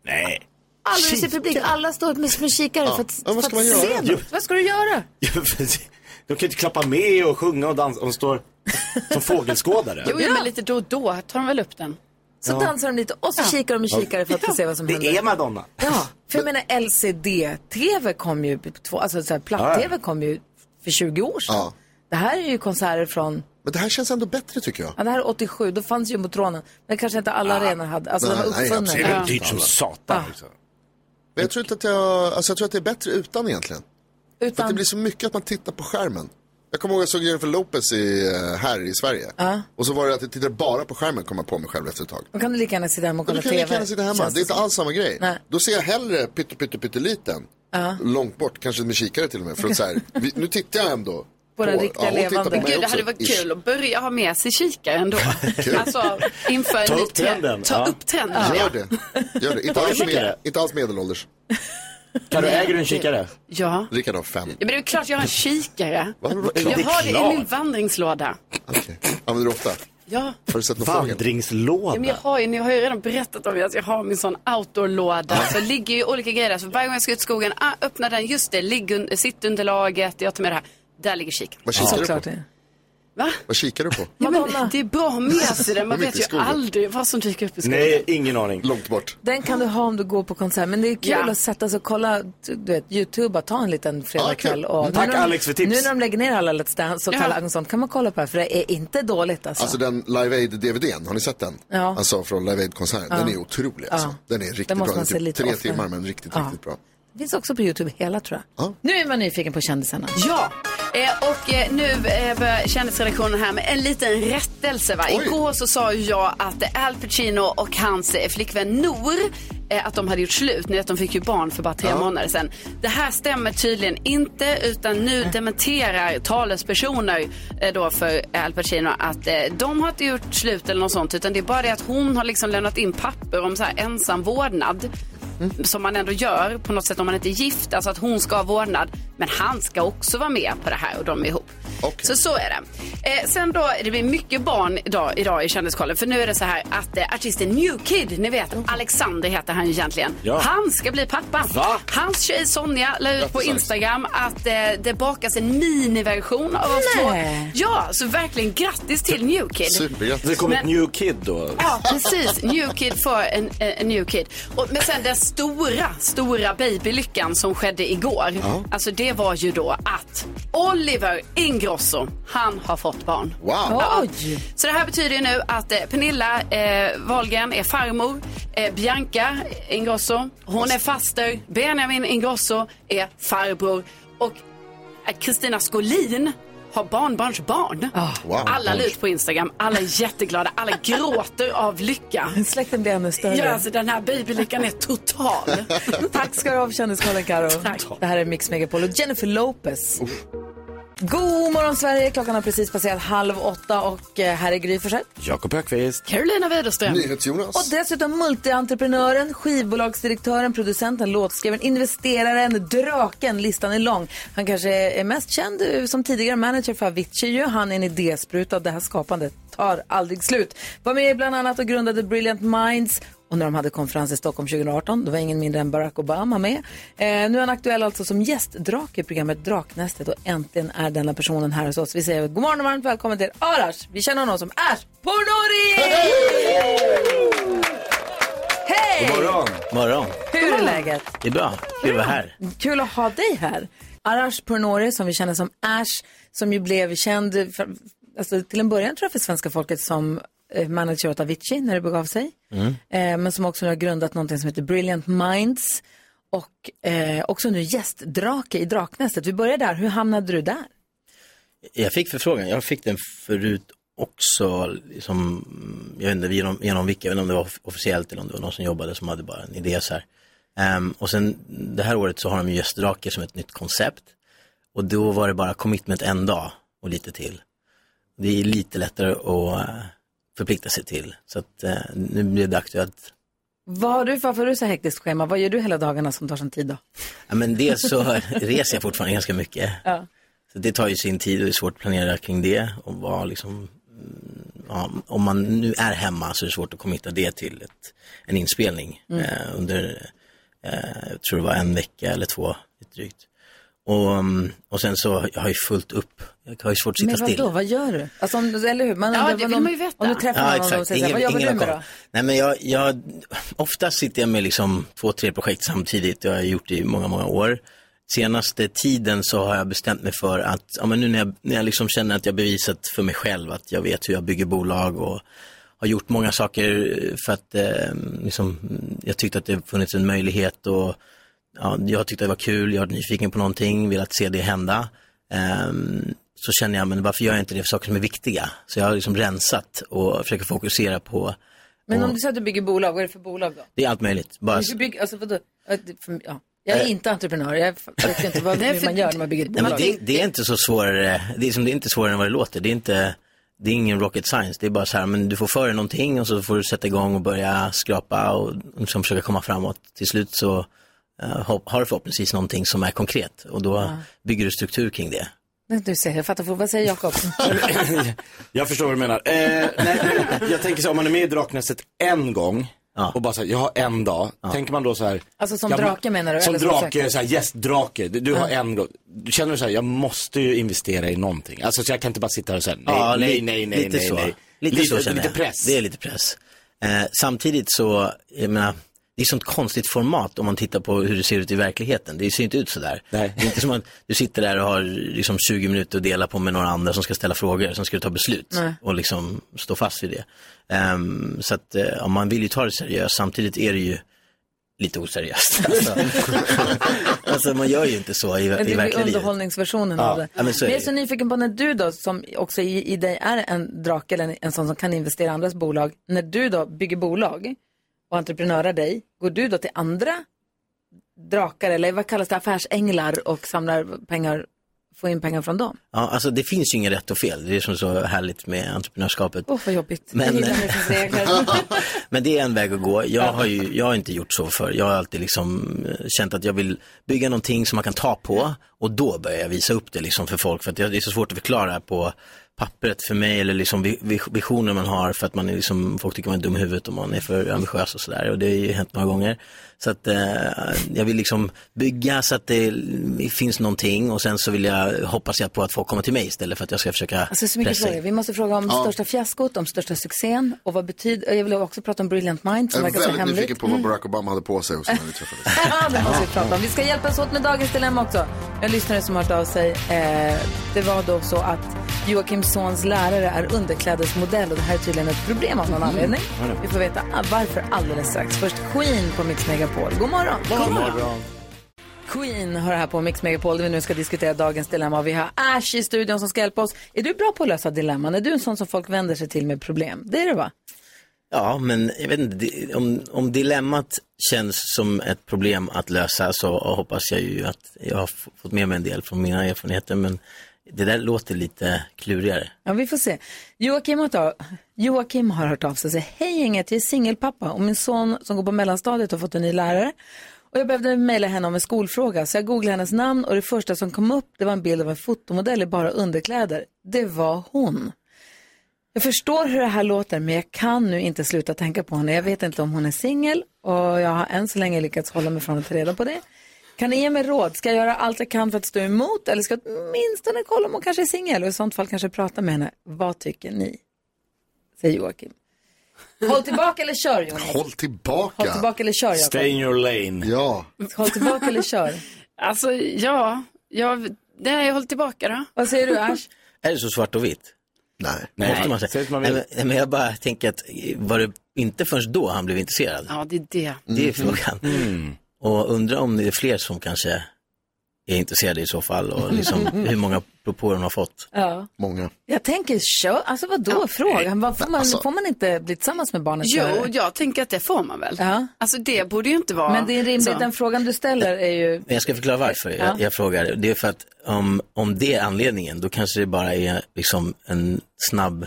[SPEAKER 4] Nej.
[SPEAKER 1] Alla i publiken, alla står med med kikare
[SPEAKER 2] Ja.
[SPEAKER 1] för att,
[SPEAKER 2] Ja, vad
[SPEAKER 1] för
[SPEAKER 2] ska
[SPEAKER 1] att
[SPEAKER 2] man
[SPEAKER 1] se
[SPEAKER 2] göra?
[SPEAKER 1] något.
[SPEAKER 4] Jo.
[SPEAKER 1] Vad ska du göra?
[SPEAKER 4] De kan ju inte klappa med och sjunga och dansa. De står som fågelskådare.
[SPEAKER 5] Jo, ja. men lite då och då tar de väl upp den.
[SPEAKER 1] Så
[SPEAKER 4] Ja.
[SPEAKER 1] dansar de lite och så kikar de med kikare för att få se vad som
[SPEAKER 4] Det
[SPEAKER 1] händer.
[SPEAKER 4] är Madonna.
[SPEAKER 1] Ja, för jag menar LCD-TV kom ju, på två- alltså så här, platt-TV kom ju för 20 år sedan.
[SPEAKER 2] Ja.
[SPEAKER 1] Det här är ju konserter från,
[SPEAKER 2] Men det här känns ändå bättre tycker jag.
[SPEAKER 1] ja, det här är 87, då fanns jumbotronen. Men kanske inte alla arenor hade, alltså
[SPEAKER 2] Nej,
[SPEAKER 1] de var
[SPEAKER 2] nej,
[SPEAKER 1] uppfunna.
[SPEAKER 2] absolut.
[SPEAKER 4] Det
[SPEAKER 1] Ja.
[SPEAKER 4] är dyrt som satan. liksom. också.
[SPEAKER 2] Men jag tror inte att jag, alltså jag tror att det är bättre utan egentligen. För att det
[SPEAKER 1] Utan,
[SPEAKER 2] blir så mycket att man tittar på skärmen. Jag kommer ihåg att jag såg Jennifer Lopez i, eh, här i Sverige. Och så var det att jag tittade bara på skärmen, kom jag på mig själv efter ett tag.
[SPEAKER 1] då kan du lika gärna sitta hemma och
[SPEAKER 2] Men
[SPEAKER 1] kolla
[SPEAKER 2] du kan
[SPEAKER 1] TV.
[SPEAKER 2] lika gärna sitta hemma.
[SPEAKER 1] känns
[SPEAKER 2] Det är inte alls samma grej.
[SPEAKER 1] Nej.
[SPEAKER 2] Då ser jag hellre pytte, pytte, pytteliten långt bort, kanske med kikare till och med. För att så här, vi, nu tittar jag ändå.
[SPEAKER 5] På den
[SPEAKER 2] ja,
[SPEAKER 5] riktiga
[SPEAKER 2] hon tittar på
[SPEAKER 5] levande.
[SPEAKER 2] mig
[SPEAKER 5] Gud, det
[SPEAKER 2] också,
[SPEAKER 5] hade varit
[SPEAKER 2] ish.
[SPEAKER 5] kul att börja ha med sig kikare ändå. alltså, inför en
[SPEAKER 2] Ta
[SPEAKER 5] ny
[SPEAKER 2] upp
[SPEAKER 5] trend.
[SPEAKER 2] trenden,
[SPEAKER 5] Ta
[SPEAKER 2] ja.
[SPEAKER 5] upp trenden.
[SPEAKER 2] Gör det. Gör det. Inte,
[SPEAKER 5] Ta en
[SPEAKER 2] alls med,
[SPEAKER 5] kikare.
[SPEAKER 2] inte alls medelålders.
[SPEAKER 5] Kan du- äger du en kikare? Ja.
[SPEAKER 2] Rickard har fem.
[SPEAKER 5] Ja, men det är klart jag har en kikare.
[SPEAKER 2] Va?
[SPEAKER 5] Jag har det i min vandringslåda.
[SPEAKER 2] Använder du ofta?
[SPEAKER 5] Ja.
[SPEAKER 2] Har du sett någon fågel?
[SPEAKER 5] Ja, men
[SPEAKER 4] Vandringslåda.
[SPEAKER 5] jag har ju, ni har ju redan berättat om att jag har min sån outdoor-låda. Så det ligger ju olika grejer där. Så varje gång jag ska ut i skogen, ah, öppna den, just det, ligg un- sittunderlaget, jag tar med det här. Där ligger kikaren.
[SPEAKER 2] Vad kikar du
[SPEAKER 5] Såklart.
[SPEAKER 2] på?
[SPEAKER 5] Va?
[SPEAKER 2] Vad kikar du på?
[SPEAKER 5] Ja, men det är bra att ha med sig det. Man
[SPEAKER 2] Mitt i
[SPEAKER 5] vet ju
[SPEAKER 2] skogen.
[SPEAKER 5] aldrig vad som dyker upp i skogen.
[SPEAKER 4] Nej, ingen aning.
[SPEAKER 2] Långt bort.
[SPEAKER 1] Den kan du ha om du går på konsert. Men det är kul
[SPEAKER 5] Ja.
[SPEAKER 1] att sätta sig och kolla, du du vet, YouTube, och ta en liten fredagkväll.
[SPEAKER 4] Ja, kul.
[SPEAKER 1] och- nu
[SPEAKER 4] Tack,
[SPEAKER 1] när de-
[SPEAKER 4] Alex, för tips.
[SPEAKER 1] Nu när de lägger ner alla Let's Dance och
[SPEAKER 4] Ja.
[SPEAKER 1] Talang och sånt kan man kolla på det här, för det är inte dåligt alltså.
[SPEAKER 2] Alltså den Live Aid-DVDn, har ni sett den?
[SPEAKER 1] Ja.
[SPEAKER 2] Alltså från Live Aid-konserten,
[SPEAKER 1] Ja.
[SPEAKER 2] den är otrolig alltså.
[SPEAKER 1] Ja.
[SPEAKER 2] Den är riktigt
[SPEAKER 1] Den
[SPEAKER 2] bra,
[SPEAKER 1] måste
[SPEAKER 2] den
[SPEAKER 1] man
[SPEAKER 2] är
[SPEAKER 1] se
[SPEAKER 2] typ
[SPEAKER 1] lite
[SPEAKER 2] tre
[SPEAKER 1] ofta.
[SPEAKER 2] timmar men riktigt,
[SPEAKER 1] Ja.
[SPEAKER 2] riktigt bra.
[SPEAKER 1] Det finns också på YouTube hela tror jag. Nu är man nyfiken på kändisarna.
[SPEAKER 5] Ja, eh, och eh, nu eh, börjar kändisredaktionen här med en liten rättelse. Va? Igår så sa ju jag att eh, Al Pacino och hans eh, flickvän Noor eh, att de hade gjort slut. Ni vet, de fick ju barn för bara tre
[SPEAKER 12] Ja.
[SPEAKER 5] månader sedan. Det här stämmer tydligen inte, utan nu dementerar talespersoner eh, då för Al Pacino att eh, de har inte gjort slut eller något sånt, utan det är bara det att hon har liksom lämnat in papper om så här ensam vårdnad som man ändå gör på något sätt om man inte är gift. Alltså att hon ska ha vårdnad, men han ska också vara med på det här och de är ihop. Så så är det. Eh, sen då, det blir mycket barn idag, idag i kändiskollen. För nu är det så här att eh, artisten New Kid, ni vet, Alexander heter han ju egentligen.
[SPEAKER 12] Ja.
[SPEAKER 5] Han ska bli pappa.
[SPEAKER 12] Va?
[SPEAKER 5] Hans tjej Sonja la ut på
[SPEAKER 12] Grattis, Alex.
[SPEAKER 5] Instagram att eh, det bakas en miniversion av oss två.
[SPEAKER 12] Nej.
[SPEAKER 5] Ja, så verkligen grattis till New Kid.
[SPEAKER 4] Supergrattis. Det kommer ett
[SPEAKER 5] Men-
[SPEAKER 4] new kid då.
[SPEAKER 5] Ja, precis. New Kid för en, eh, en en new kid. Och, men sen den stora, stora babylyckan som skedde igår.
[SPEAKER 12] Ja.
[SPEAKER 5] Alltså det var ju då att Oliver Ingrosso, han har fått barn.
[SPEAKER 12] Wow.
[SPEAKER 5] Ja.
[SPEAKER 12] Oj.
[SPEAKER 5] Så det här betyder ju nu att eh, Pernilla eh, Wahlgren är farmor. Eh, Bianca Ingrosso, hon är faster. Benjamin Ingrosso är farbror. Och eh, Kristina Skolin har barnbarnsbarn.
[SPEAKER 1] wow.
[SPEAKER 5] Alla la ut på Instagram, alla är jätteglada, alla gråter av lycka.
[SPEAKER 1] Släkten blir ännu större.
[SPEAKER 5] Ja, alltså den här babylyckan är total.
[SPEAKER 1] Tack ska du ha för Kändiskollen, Karo. Det här är Mix Megapol och Jennifer Lopez. God morgon, Sverige. Klockan har precis passerat halv åtta och eh, här är Gry Forssell.
[SPEAKER 4] Jakob Högqvist.
[SPEAKER 5] Carolina Widerström.
[SPEAKER 2] NyhetsJonas.
[SPEAKER 1] Och dessutom multientreprenören, skivbolagsdirektören, producenten, låtskrivaren, investeraren, draken. Listan är lång. Han kanske är mest känd eh, som tidigare manager för Avicii. ju. Han är en idéspruta och det här skapandet tar aldrig slut. Var med bland annat och grundade Brilliant Minds. Och när de hade konferens i Stockholm 2018, då var ingen mindre än Barack Obama med. Eh, nu är han aktuell alltså som gästdrake i programmet Draknästet och äntligen är denna personen här hos oss. Vi säger god morgon och varmt välkommen till Arash. Vi känner honom som Ash Pornori! Hej!
[SPEAKER 13] Morgon.
[SPEAKER 1] Hur är läget?
[SPEAKER 13] Det är bra. Kul att vara här.
[SPEAKER 1] Mm. Kul att ha dig här. Arash Pornori, som vi känner som Ash, som ju blev känd för, alltså, till en början tror jag för svenska folket som eh, manager åt Avicii när det begav sig.
[SPEAKER 12] Mm.
[SPEAKER 1] Eh, men som också nu har grundat någonting som heter Brilliant Minds och eh, också nu gästdrake i Draknästet. Vi börjar där, hur hamnade du där?
[SPEAKER 13] Jag fick förfrågan, jag fick den förut också, liksom, jag vet inte genom, genom vilka, jag vet inte om det var off- officiellt eller om det var någon som jobbade som hade bara en idé så här. Ehm, och sen det här året så har de ju gästdrake som ett nytt koncept. Och då var det bara commitment en dag och lite till. Det är lite lättare att eh, förplikta sig till. Så att eh, nu blev det aktuellt
[SPEAKER 1] Vad har du, varför har du så hektiskt schema? Vad gör du hela dagarna som tar sån tid då?
[SPEAKER 13] Ja, men dels så reser jag fortfarande ganska mycket.
[SPEAKER 1] Ja.
[SPEAKER 13] Så det tar ju sin tid och det är svårt att planera kring det. Och vad liksom, mm, ja, om man nu är hemma så är det svårt att committa det till ett, en inspelning
[SPEAKER 12] Mm.
[SPEAKER 13] eh, under, eh, jag tror det var en vecka eller två lite drygt. Och, mm, och sen så, jag har ju fullt upp, jag har ju svårt att sitta
[SPEAKER 1] Men
[SPEAKER 13] still.
[SPEAKER 1] vadå, vad gör du? Alltså, om, eller hur? Man
[SPEAKER 5] Ja,
[SPEAKER 1] undrar
[SPEAKER 5] det
[SPEAKER 1] vad
[SPEAKER 5] vill
[SPEAKER 1] någon-
[SPEAKER 5] man ju veta.
[SPEAKER 1] Om du träffar någon och de säger så här, vad jobbar du
[SPEAKER 13] har
[SPEAKER 1] med
[SPEAKER 13] koll.
[SPEAKER 1] då?
[SPEAKER 13] Nej men jag, jag, oftast sitter jag med liksom två, tre projekt samtidigt. Det har jag gjort i många, många år. Senaste tiden så har jag bestämt mig för att, ja men nu när jag, när jag liksom känner att jag bevisat för mig själv att jag vet hur jag bygger bolag och har gjort många saker för att eh, liksom, jag tyckte att det funnits en möjlighet och ja, jag tyckte det var kul, jag var nyfiken på någonting, velat se det hända. Ehm, så känner jag, men varför gör jag inte det för saker som är viktiga? Så jag har liksom rensat och försöker fokusera på,
[SPEAKER 1] Men om du säger att du bygger bolag, vad är det för bolag då?
[SPEAKER 13] det är allt möjligt. Bara,
[SPEAKER 1] Du bygger, alltså vadå? Ja, det- för- Ja. Jag är
[SPEAKER 13] Eh.
[SPEAKER 1] inte entreprenör, jag vet inte vad
[SPEAKER 5] Nej,
[SPEAKER 1] hur
[SPEAKER 5] för-
[SPEAKER 1] man gör när man bygger ett
[SPEAKER 13] Nej, men
[SPEAKER 1] bolag.
[SPEAKER 13] det, det är inte så svårare, det är, som, det är inte svårare än vad det låter. Det är, inte, det är ingen rocket science, det är bara så här, men du får för dig någonting och så får du sätta igång och börja skrapa och liksom försöka komma framåt. Till slut så eh, hopp- har du förhoppningsvis någonting som är konkret och då
[SPEAKER 1] Ja.
[SPEAKER 13] bygger du struktur kring det.
[SPEAKER 1] Nej, Du ser, jag fattar, fort. vad säger Jakob?
[SPEAKER 4] Jag förstår vad du menar. Eh, nej, nej, nej. jag tänker så här, om man är med i Draknästet en gång och bara så här, jag har en dag. Tänker man då så här.
[SPEAKER 1] Alltså som
[SPEAKER 4] jag må-
[SPEAKER 1] drake menar du?
[SPEAKER 4] Som
[SPEAKER 1] eller som
[SPEAKER 4] drake,
[SPEAKER 1] sökare?
[SPEAKER 4] så här, yes, drake. Du, du har
[SPEAKER 1] Ja.
[SPEAKER 4] en gång. Du känner du så här, jag måste ju investera i någonting. Alltså så jag kan inte bara sitta här och säga nej,
[SPEAKER 13] Ja,
[SPEAKER 4] nej,
[SPEAKER 13] li-
[SPEAKER 4] nej, nej,
[SPEAKER 13] lite
[SPEAKER 4] nej,
[SPEAKER 13] så.
[SPEAKER 4] nej.
[SPEAKER 13] Lite, så känner
[SPEAKER 4] lite
[SPEAKER 13] jag.
[SPEAKER 4] press.
[SPEAKER 13] Det är lite press. Eh, samtidigt så, jag menar, det är sånt konstigt format om man tittar på hur det ser ut i verkligheten. Det ser inte ut sådär. Nej. Det är inte som att du sitter där och har liksom 20 minuter att dela på med några andra som ska ställa frågor, som ska ta beslut
[SPEAKER 1] Nej.
[SPEAKER 13] och liksom stå fast vid det. Ehm, så att eh, ja, man vill ju ta det seriöst, samtidigt är det ju lite oseriöst. Alltså, alltså man gör ju inte så i, i
[SPEAKER 1] Men det
[SPEAKER 13] verkliga
[SPEAKER 1] blir
[SPEAKER 13] livet.
[SPEAKER 1] underhållningsversionen
[SPEAKER 13] Ja,
[SPEAKER 1] av det.
[SPEAKER 13] ja, men så är
[SPEAKER 1] jag är
[SPEAKER 13] det.
[SPEAKER 1] så nyfiken på när du då, som också i, i dig är en drake eller en, en sån som kan investera i andras bolag, när du då bygger bolag och entreprenörar dig, går du då till andra drakar eller vad kallas det, affärsänglar och samlar pengar, får in pengar från dem?
[SPEAKER 13] Ja, alltså det finns ju inget rätt och fel. Det är det som är så härligt med entreprenörskapet.
[SPEAKER 1] Åh, vad jobbigt.
[SPEAKER 13] Men-
[SPEAKER 1] Jag gillar när det finns regler.
[SPEAKER 13] Men det är en väg att gå. Jag har ju jag har inte gjort så för. Jag har alltid liksom eh, känt att jag vill bygga någonting som man kan ta på och då börjar jag visa upp det liksom för folk. För att jag- det är så svårt att förklara på pappret för mig eller liksom vi- vi- visioner man har för att man är liksom, folk tycker man är dum i huvudet om man är för ambitiös och sådär. Och det har ju hänt några gånger. Så att eh, jag vill liksom bygga så att det finns någonting och sen så vill jag, hoppas jag på att folk kommer till mig istället för att jag ska försöka
[SPEAKER 1] Alltså så mycket
[SPEAKER 13] pressa in.
[SPEAKER 1] frågor. Vi måste fråga om
[SPEAKER 13] Ja.
[SPEAKER 1] största fiaskot, om största succén och vad betyder, jag vill också prata om Brilliant Mind som
[SPEAKER 2] Jag är
[SPEAKER 1] verkar så
[SPEAKER 2] väldigt
[SPEAKER 1] hemligt. Mm.
[SPEAKER 2] nyfiken på vad Barack Obama hade på sig också när vi träffades.
[SPEAKER 1] Ja, det måste vi prata om. Vi ska hjälpas åt med dagens dilemma också. En lyssnare som har hört av sig. Eh, det var då så att Joakim Sons lärare är underklädesmodell och det här är tydligen ett problem av någon
[SPEAKER 12] Mm.
[SPEAKER 1] anledning.
[SPEAKER 12] Ja, det.
[SPEAKER 1] Vi får veta all- varför alldeles strax. Först Queen på Mix Megapol. God morgon! Queen har det här på Mix Megapol där vi nu ska diskutera dagens dilemma. Vi har Ash i studion som ska hjälpa oss. Är du bra på att lösa dilemman? Är du en sån som folk vänder sig till med problem? Det är du va?
[SPEAKER 13] Ja, men jag vet inte, det- om, om dilemmat känns som ett problem att lösa så hoppas jag ju att jag har f- fått med mig en del från mina erfarenheter, men det där låter lite klurigare.
[SPEAKER 1] Ja, vi får se. Joakim har, ta- Joakim har hört av sig och säger, hej inget, jag är singelpappa och min son som går på mellanstadiet har fått en ny lärare. Och jag behövde mejla henne om en skolfråga, så jag googlade hennes namn och det första som kom upp det var en bild av en fotomodell i bara underkläder. Det var hon. Jag förstår hur det här låter, men jag kan nu inte sluta tänka på henne. Jag vet inte om hon är singel och jag har än så länge lyckats hålla mig från att ta reda på det. Kan ni ge mig råd? Ska jag göra allt jag kan för att stå emot eller ska jag åtminstone kolla om hon kanske är singel och i sånt fall kanske prata med henne? Vad tycker ni? Säger Joakim. Håll tillbaka eller kör, Jonas.
[SPEAKER 2] Håll tillbaka.
[SPEAKER 1] Håll tillbaka eller kör, Jakob.
[SPEAKER 4] Stay in your lane.
[SPEAKER 2] Ja.
[SPEAKER 1] Håll tillbaka eller kör.
[SPEAKER 5] Alltså, ja. Jag, nej, jag håller tillbaka då.
[SPEAKER 1] Vad säger du, Ash?
[SPEAKER 13] Är det så svart och vitt?
[SPEAKER 2] Nej.
[SPEAKER 13] Måste man säga. Nej, men- nej, men jag bara tänker att eh, var det inte förrän då han blev intresserad?
[SPEAKER 5] Ja, det är det.
[SPEAKER 13] Det är frågan.
[SPEAKER 5] Mm.
[SPEAKER 13] Och undrar om det är fler som kanske är intresserade i så fall och liksom hur många propåer hon har fått.
[SPEAKER 1] Ja.
[SPEAKER 2] Många.
[SPEAKER 1] Jag tänker kör, alltså vadå fråga? Vad Får man,
[SPEAKER 13] Alltså-
[SPEAKER 1] får man inte bli tillsammans med barnet?
[SPEAKER 5] Jo, jag tänker att det får man väl. Alltså det borde ju inte vara
[SPEAKER 1] Men det är
[SPEAKER 5] så.
[SPEAKER 1] rimligt, den frågan du ställer är ju...
[SPEAKER 13] Men jag ska förklara varför jag,
[SPEAKER 1] Ja.
[SPEAKER 13] jag frågar. Det är för att om, om det är anledningen, då kanske det bara är liksom en snabb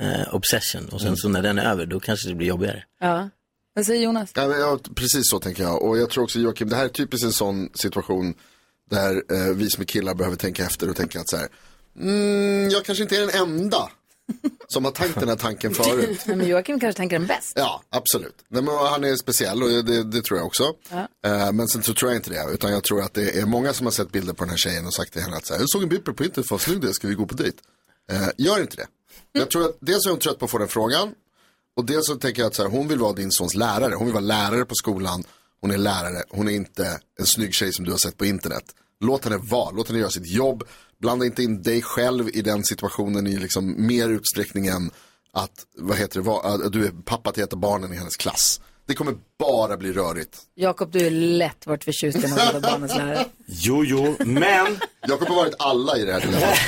[SPEAKER 13] eh, obsession. Och sen så när den är över, då kanske det blir jobbigare.
[SPEAKER 1] Ja. Vad säger Jonas?
[SPEAKER 2] Ja, men, ja, precis så tänker jag. Och jag tror också Joakim, det här är typiskt en sån situation där eh, vi som är killar behöver tänka efter och tänka att så här, mm, jag kanske inte är den enda som har tänkt den här tanken förut.
[SPEAKER 1] Nej, men Joakim kanske tänker den bäst.
[SPEAKER 2] Ja, absolut. Nej, men han är speciell och det, det tror jag också.
[SPEAKER 1] Ja.
[SPEAKER 2] Eh, men sen så tror jag inte det, utan jag tror att det är många som har sett bilder på den här tjejen och sagt till henne att så här, jag såg en bild på dig på internet, vad snygg du är, ska vi gå på dejt? Eh, gör inte det. Jag tror att dels är hon trött på att få den frågan och dels så tänker jag att så här, hon vill vara din sons lärare, hon vill vara lärare på skolan, hon är lärare, hon är inte en snygg tjej som du har sett på internet. Låt henne vara, låt henne göra sitt jobb, blanda inte in dig själv i den situationen i liksom mer utsträckning än att, vad heter det, va- att du är pappa till ett av barnen i hennes klass. Det kommer bara bli rörigt.
[SPEAKER 1] Jakob, du är lätt varit förtjust i den här lilla barnens lärare.
[SPEAKER 4] Jo, jo, men.
[SPEAKER 2] Jakob har varit alla i det här dilemmat.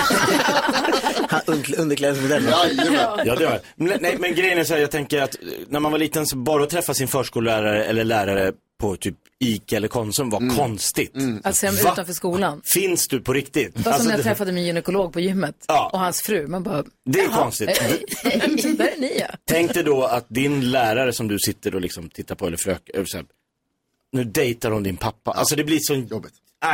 [SPEAKER 13] Underklädesmodellen.
[SPEAKER 2] Jajamän.
[SPEAKER 4] Ja, det var. Nej, men grejen är så här, jag tänker att eh, när man var liten så bara att träffa sin förskollärare eller lärare på typ ICA eller Konsum var konstigt.
[SPEAKER 1] Att sen
[SPEAKER 4] Va?
[SPEAKER 1] utanför skolan.
[SPEAKER 4] Finns du på riktigt?
[SPEAKER 1] Det var som
[SPEAKER 4] Alltså,
[SPEAKER 1] när
[SPEAKER 4] det-
[SPEAKER 1] jag träffade min gynekolog på gymmet och hans fru. Man bara,
[SPEAKER 4] Det är
[SPEAKER 1] "Jaha,
[SPEAKER 4] konstigt.
[SPEAKER 1] hej, hej, Där är ni ja.
[SPEAKER 4] Tänk dig då att din lärare som du sitter och liksom tittar på eller frök, eller så här, nu dejtar hon din pappa. Alltså det blir så... Jobbigt. Äh,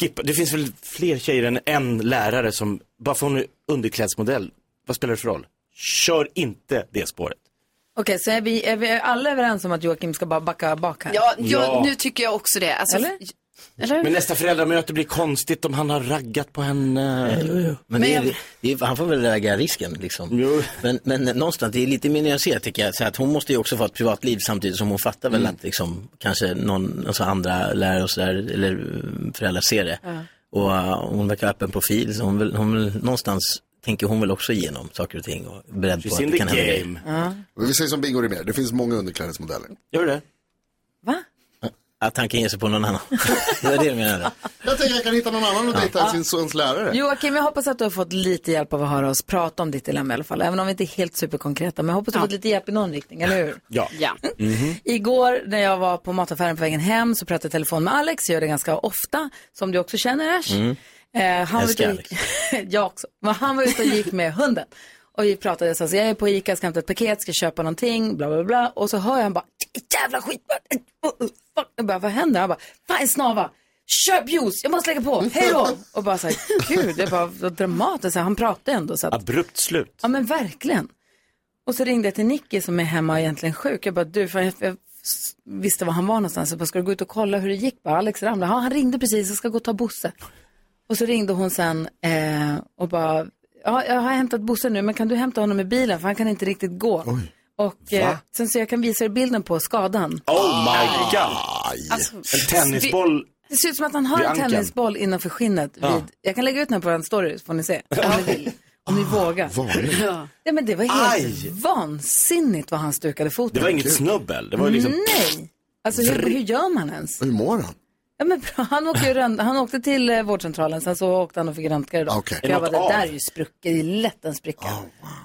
[SPEAKER 4] skippa. Det finns väl fler tjejer än en lärare som, bara för hon är underklädsmodell, vad spelar det för roll? Kör inte det spåret.
[SPEAKER 1] Okej, så är vi, är vi alla överens om att Joakim ska bara backa bak här?
[SPEAKER 5] Ja, jag,
[SPEAKER 4] Ja.
[SPEAKER 5] nu tycker jag också det. Alltså,
[SPEAKER 1] Eller?
[SPEAKER 5] eller?
[SPEAKER 4] Men nästa föräldramöte blir konstigt om han har raggat på henne.
[SPEAKER 13] Men det är, det är, han får väl lägga risken liksom. Men, men någonstans, det är lite mer nyanserat tycker jag. Så att hon måste ju också få ett privatliv samtidigt som hon fattar väl
[SPEAKER 4] Mm.
[SPEAKER 13] att liksom, kanske någon, alltså andra lärare och sådär, eller eh, föräldrar ser det. Och eh, hon verkar ha öppen profil, så hon vill, hon vill, någonstans tänker hon väl också igenom saker och ting och är beredd
[SPEAKER 2] She's
[SPEAKER 13] på
[SPEAKER 2] in
[SPEAKER 13] att det
[SPEAKER 2] the
[SPEAKER 13] kan hända
[SPEAKER 2] game. Vi säger som Bingo Rimér, det finns många underklädesmodeller.
[SPEAKER 4] Gör det?
[SPEAKER 1] Va?
[SPEAKER 13] Att han kan ge sig på någon annan. det var det du menade.
[SPEAKER 2] Jag tänker jag kan hitta någon annan att dejta än sin sons lärare.
[SPEAKER 1] Joakim, jag hoppas att du har fått lite hjälp av att höra oss prata om ditt dilemma i alla fall. Även om vi inte är helt superkonkreta. Men jag hoppas att du har fått lite hjälp i någon riktning, eller hur?
[SPEAKER 4] Ja.
[SPEAKER 5] ja.
[SPEAKER 1] Igår när jag var på mataffären på vägen hem så pratade jag i telefon med Alex. Jag gör det ganska ofta, som du också känner Ash.
[SPEAKER 3] Mm.
[SPEAKER 1] Eh, han var ute
[SPEAKER 3] Älskar
[SPEAKER 1] och gick... jag också. Men han var ute och gick med hunden. Och vi pratade så här, så jag är på Ica, ska hämta ett paket, ska köpa någonting, bla bla bla. Och så hör jag han bara, jävla skitbart. Fuck. Jag bara, vad händer? Han bara, fan en snava. Köp juice, jag måste lägga på, hej då! Och bara så här, gud, det var vad dramatiskt. Så här, Han pratade ändå så att,
[SPEAKER 4] Abrupt slut.
[SPEAKER 1] Ja men verkligen. Och så ringde jag till Nicky som är hemma och egentligen sjuk. Jag bara, du, för jag, jag s- visste var han var någonstans. Jag bara, ska du gå ut och kolla hur det gick? Bara, Alex ramlade. Ja, han ringde precis, jag ska gå och ta Bosse. Och så ringde hon sen eh, och bara, ja, jag har hämtat Bosse nu, men kan du hämta honom i bilen? För han kan inte riktigt gå. Och eh,
[SPEAKER 4] Va?
[SPEAKER 1] sen så jag kan visa er bilden på skadan.
[SPEAKER 4] Oh
[SPEAKER 13] Ah.
[SPEAKER 4] my god!
[SPEAKER 1] Alltså,
[SPEAKER 4] en tennisboll.
[SPEAKER 1] Det ser ut som att han har
[SPEAKER 4] Vid
[SPEAKER 1] en
[SPEAKER 4] ankan.
[SPEAKER 1] tennisboll innanför skinnet. Vid,
[SPEAKER 4] Ja.
[SPEAKER 1] Jag kan lägga ut den här på vår story så får ni se. Om ni vill. Om ni vågar.
[SPEAKER 4] vanligt.
[SPEAKER 1] Ja. Ja, men det var helt
[SPEAKER 4] Aj.
[SPEAKER 1] vansinnigt vad han stukade foten.
[SPEAKER 4] Det var inget snubbel. Det var ju liksom...
[SPEAKER 1] Nej. Alltså hur, hur gör man ens?
[SPEAKER 2] Hur mår han?
[SPEAKER 1] Ja, men bra. Han, åkte ju rönt, han åkte till eh, vårdcentralen, sen så åkte han och fick röntgen idag.
[SPEAKER 13] Okej.
[SPEAKER 1] Jag bara,
[SPEAKER 13] Är
[SPEAKER 1] det
[SPEAKER 13] det något
[SPEAKER 1] där är
[SPEAKER 13] av? Oh,
[SPEAKER 1] ju sprucket, det är lätt en spricka.